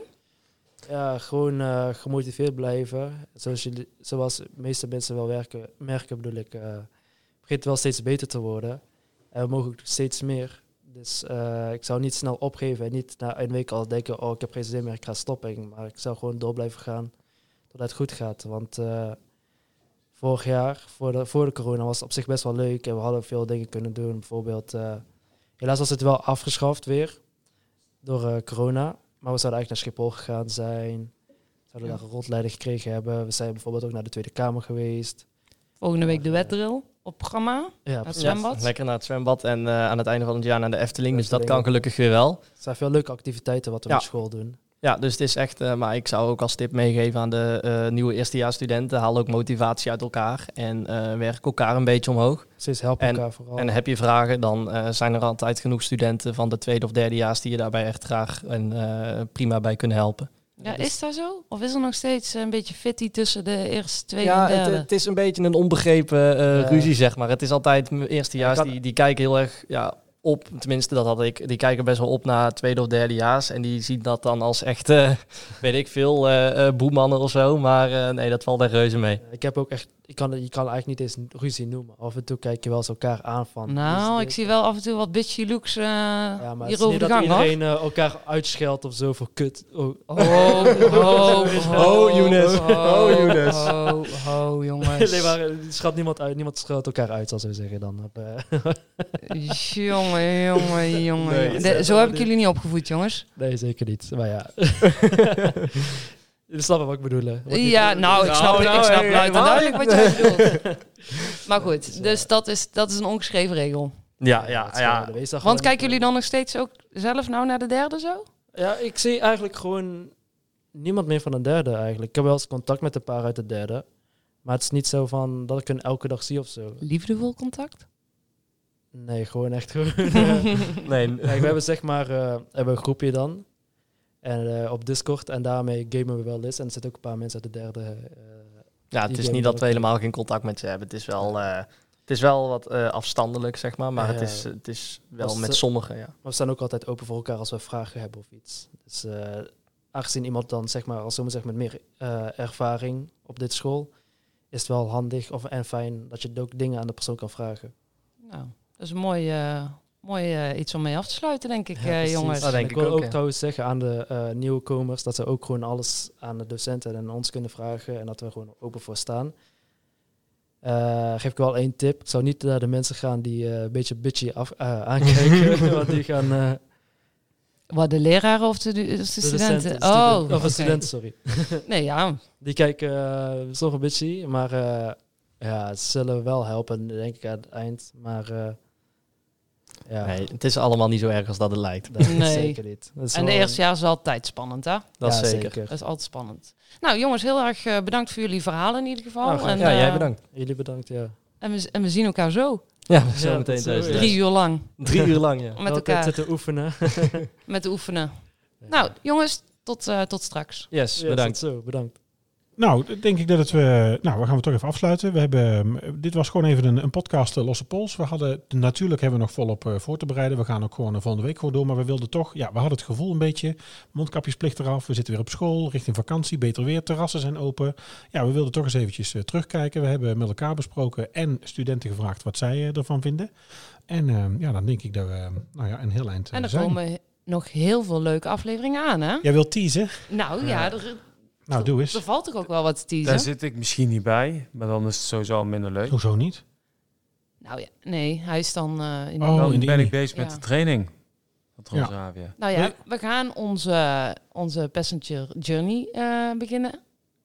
S6: Ja, gewoon eh, gemotiveerd blijven. Zoals, jullie, zoals de meeste mensen wel werken, merken, bedoel ik. eh begint wel steeds beter te worden. En we mogen ook steeds meer. Dus eh, ik zou niet snel opgeven en niet na een week al denken: oh, ik heb geen zin meer, ik ga stoppen. Maar ik zou gewoon door blijven gaan totdat het goed gaat. Want eh, vorig jaar, voor de, voor de corona, was het op zich best wel leuk. En we hadden veel dingen kunnen doen. Bijvoorbeeld, eh, helaas was het wel afgeschaft weer door eh, corona. Maar we zouden eigenlijk naar Schiphol gegaan zijn. Zouden
S2: Ja.
S6: daar een rondleiding gekregen hebben. We zijn bijvoorbeeld ook naar de Tweede Kamer geweest.
S2: Volgende week de wetdrill op programma.
S6: Ja,
S2: Het
S6: precies.
S2: zwembad.
S5: Lekker naar het zwembad. En eh, aan het einde van het jaar naar de Efteling. Dus dat kan
S6: Efteling.
S5: gelukkig weer wel.
S6: Het zijn veel leuke activiteiten wat we
S5: Ja.
S6: op school doen.
S5: Ja, dus het is echt, eh, maar ik zou ook als tip meegeven aan de eh, nieuwe eerstejaarsstudenten. Haal ook motivatie uit elkaar. En eh, werk elkaar een beetje omhoog.
S6: Precies, helpen
S5: En-
S6: elkaar
S2: Oh.
S6: vooral.
S5: En heb je vragen, dan eh, zijn er altijd genoeg studenten van de tweede of derdejaars die je daarbij echt graag en eh, prima bij kunnen helpen.
S2: Ja,
S6: Dus-
S2: is dat zo? Of is er nog steeds eh, een beetje fitty tussen de eerste, tweede
S5: Ja,
S2: en
S5: het,
S2: derde?
S5: het is een beetje een onbegrepen eh,
S6: Ja.
S5: ruzie, zeg maar. Het is altijd m- eerstejaars,
S6: Ik had-
S5: die, die kijken heel erg ja, op. Tenminste, dat had ik. Die kijken best wel op naar tweede of derdejaars. En die zien dat dan als echt, eh, weet ik veel, eh eh, boemannen of zo. Maar eh, nee, dat valt echt reuze mee.
S6: Ik heb ook echt, ik kan, je kan eigenlijk niet eens ruzie noemen. Af en toe kijk je wel eens elkaar aan van.
S2: nou,
S6: dus-
S2: ik zie wel af en toe wat bitchy looks eh,
S6: Ja, maar het
S2: hier
S6: is
S2: over
S6: niet
S2: de
S6: dat
S2: gang, hoor.
S6: iedereen eh, elkaar uitscheldt of zo voor kut. Oh,
S2: Oh, oh,
S4: Oh, Younes. Oh, Younes.
S2: Oh, oh,
S6: Nee,
S2: jongens.
S6: maar eh, schat niemand uit, niemand scheldt elkaar uit, zal we zeggen dan. Op, eh,
S2: Jongen, jongen, jongen.
S4: Nee,
S2: jongen.
S6: het
S2: De-
S6: zijn
S2: zo
S6: wel
S2: heb ik
S6: die-
S2: jullie niet opgevoed, jongens.
S6: nee, zeker niet. Maar ja. Je snapt wat ik bedoel. hè. Wordt niet-
S2: Ja, nou, ik
S4: Nou,
S2: snap,
S4: nou,
S2: ik snap
S4: hey,
S2: luid en
S4: hey,
S2: duidelijk wat jij bedoelt. Maar
S6: is,
S2: goed,
S6: eh,
S2: dus dat is, dat is een ongeschreven regel.
S5: Ja, ja,
S6: het is
S5: ja.
S6: gewoon- wees daar
S2: Want
S6: gewoon niet eh.
S2: kijken
S6: voor.
S2: jullie dan nog steeds ook zelf nou naar de derde zo?
S6: Ja, ik zie eigenlijk gewoon niemand meer van een derde eigenlijk. Ik heb wel eens contact met een paar uit de derde. Maar het is niet zo van dat ik hun elke dag zie of zo.
S2: Liefdevol contact? Nou,
S6: Nee, gewoon echt gewoon. eh,
S5: Nee,
S6: Kijk, we hebben zeg maar eh, hebben een groepje dan. En, eh, op Discord. En daarmee gamen we wel eens. En er zitten ook een paar mensen uit de derde. eh,
S5: ja, het
S6: Die
S5: is
S6: game
S5: niet dat
S6: ook.
S5: we helemaal geen contact met ze hebben. Het is wel, eh, het is wel wat eh, afstandelijk, zeg maar. Maar
S6: Ja,
S5: het,
S6: ja.
S5: is, het is wel
S6: Was
S5: met
S6: het-
S5: sommigen, ja.
S6: maar we staan ook altijd open voor elkaar als we vragen hebben of iets. Dus eh, aangezien iemand dan zeg maar, als zomaar zegt met meer eh, ervaring op dit school, is het wel handig of, en fijn dat je ook dingen aan de persoon kan vragen.
S2: Nou, dat is een mooi, eh, mooi eh, iets om mee af te sluiten, denk ik,
S6: Ja,
S2: eh,
S6: precies.
S2: jongens.
S5: Dat
S6: En
S5: denk
S6: ik,
S5: ik
S6: wil
S5: ook,
S6: ook
S5: ja.
S6: trouwens zeggen aan de eh, nieuwkomers dat ze ook gewoon alles aan de docenten en ons kunnen vragen en dat we er gewoon open voor staan. Eh, geef ik wel één tip. Ik zou niet naar de mensen gaan die eh, een beetje bitchy af, eh, aankijken. want die gaan... eh,
S2: Wat, de leraren of de, de
S6: de
S2: studenten?
S6: docenten-
S2: oh,
S6: of de
S2: oké.
S6: studenten, sorry.
S2: Nee, ja.
S6: Die kijken eh sommige bitchy, maar eh, ja, ze zullen wel helpen, denk ik, aan het eind. Maar eh, ja,
S5: Nee, het is allemaal niet zo erg als dat het lijkt.
S6: dat is
S2: Nee.
S6: zeker niet. Dat is
S2: En de
S6: wel-
S2: eerste jaar is altijd spannend, hè?
S5: Dat
S6: Ja,
S5: is zeker.
S2: Dat is altijd spannend. Nou, jongens, heel erg eh, bedankt voor jullie verhalen in ieder geval.
S6: Nou, graag.
S2: en,
S5: Ja, jij
S2: eh,
S5: bedankt.
S6: Jullie bedankt, ja.
S2: En we, en we zien elkaar zo,
S5: Ja,
S6: zo
S5: zo meteen
S6: Ja, meteen dat thuis.
S5: thuis. dus.
S6: sowieso.
S2: eh, drie uur lang,
S5: Drie uur lang, ja.
S2: met
S6: Altijd
S2: elkaar,
S6: zitten oefenen.
S2: met oefenen. Nou, jongens, tot, eh, tot straks.
S5: Yes,
S6: Ja,
S5: bedankt.
S6: tot Zo, bedankt.
S1: Nou, d- denk ik dat het we. Nou, we gaan we toch even afsluiten. We hebben, eh, dit was gewoon even een, een podcast eh, Losse Pols. We hadden natuurlijk hebben we nog volop eh, voor te bereiden. We gaan ook gewoon eh, volgende week gewoon door. Maar we wilden toch, ja, we hadden het gevoel een beetje. Mondkapjesplicht eraf. We zitten weer op school, richting vakantie, beter weer. Terrassen zijn open. Ja, we wilden toch eens eventjes eh, terugkijken. We hebben met elkaar besproken en studenten gevraagd wat zij eh, ervan vinden. En eh, ja, dan denk ik dat we eh, nou ja, een heel eind eh,
S2: En er
S1: zijn.
S2: komen nog heel veel leuke afleveringen aan, hè?
S1: Jij wilt teasen?
S2: Nou ja, er,
S1: Nou, doe eens.
S2: er valt toch ook wel wat te teasen?
S4: Daar zit ik misschien niet bij, maar dan is het sowieso al minder leuk.
S1: Hoezo niet?
S2: Nou ja, nee, hij is dan eh, in
S1: Oh,
S4: dan
S1: in de
S4: ben
S1: Unie.
S4: ik bezig met
S2: Ja.
S4: de training van
S1: Ja.
S4: Transavia.
S2: Nou ja, we gaan onze, onze passenger journey eh, beginnen.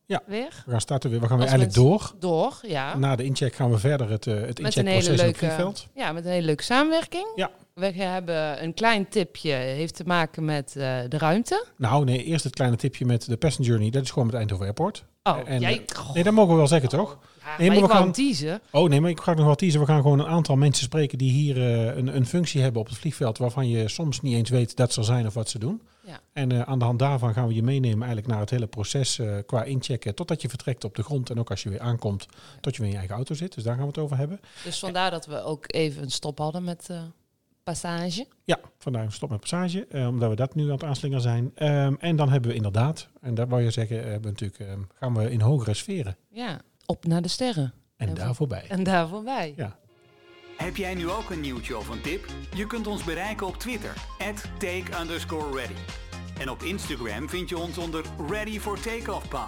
S1: Ja. Nou,
S2: Weer.
S1: We gaan, starten weer. We gaan weer
S2: Als
S1: eindelijk
S2: mensen-
S1: door.
S2: Door, ja.
S1: Na de incheck gaan we verder het, eh, het
S2: met een hele
S1: incheckproces op het
S2: leuke,
S1: vliegveld.
S2: ja, met een hele leuke samenwerking.
S1: Ja.
S2: We hebben een klein tipje, heeft te maken met eh, de ruimte.
S1: Nou nee, eerst het kleine tipje met de passenger journey. Dat is gewoon met Eindhoven Airport.
S2: Oh,
S1: En- eh,
S2: jij...
S1: Nee, dat mogen we wel zeggen, toch?
S2: Ja,
S1: nee,
S2: maar
S1: maar
S2: ik
S1: we
S2: wou
S1: gaan-
S2: teasen.
S1: Oh nee, maar ik ga nog wat teasen. We gaan gewoon een aantal mensen spreken die hier eh, een, een functie hebben op het vliegveld... waarvan je soms niet eens weet dat ze er zijn of wat ze doen.
S2: Ja.
S1: En eh, aan de hand daarvan gaan we je meenemen eigenlijk naar het hele proces eh, qua inchecken... totdat je vertrekt op de grond en ook als je weer aankomt... tot je weer in je eigen auto zit. Dus daar gaan we het over hebben.
S2: Dus vandaar dat we ook even een stop hadden met eh, passage.
S1: Ja, vandaar een stop met passage, eh, omdat we dat nu aan het aanslingeren zijn. Ehm, en dan hebben we inderdaad, en dat wou je zeggen, hebben we natuurlijk, ehm, gaan we in hogere sferen.
S2: Ja, op naar de sterren.
S1: En
S2: Ja,
S1: daar voorbij.
S2: En daar voorbij.
S1: Ja.
S3: Heb jij nu ook een nieuwtje of een tip? Je kunt ons bereiken op Twitter, take ready. En op Instagram vind je ons onder Ready for Takeoff Pod.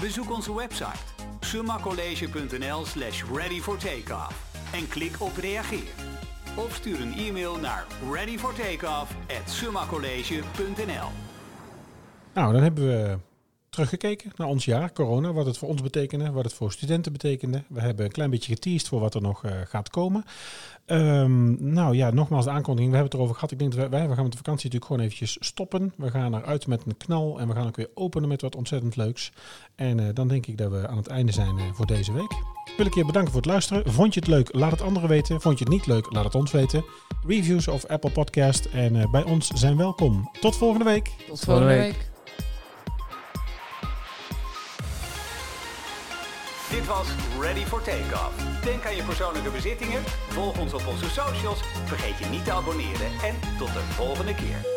S3: Bezoek onze website summacollege.nl slash ready for takeoff en klik op reageer. Of stuur een e-mail naar readyfortakeoff at summacollege.nl.
S1: Nou, dan hebben we teruggekeken naar ons jaar, corona, wat het voor ons betekende, wat het voor studenten betekende. We hebben een klein beetje geteased voor wat er nog eh, gaat komen. Ehm, nou ja, nogmaals de aankondiging, we hebben het erover gehad. Ik denk dat wij, wij gaan met de vakantie natuurlijk gewoon eventjes stoppen. We gaan eruit met een knal en we gaan ook weer openen met wat ontzettend leuks. En eh, dan denk ik dat we aan het einde zijn eh, voor deze week. Ik wil ik je bedanken voor het luisteren. Vond je het leuk? Laat het anderen weten. Vond je het niet leuk? Laat het ons weten. Reviews of Apple Podcast en eh, bij ons zijn welkom. Tot volgende week.
S2: Tot volgende
S4: volgende
S2: week.
S3: Dit was Ready for Takeoff. Denk aan je persoonlijke bezittingen, volg ons op onze socials, vergeet je niet te abonneren en tot de volgende keer.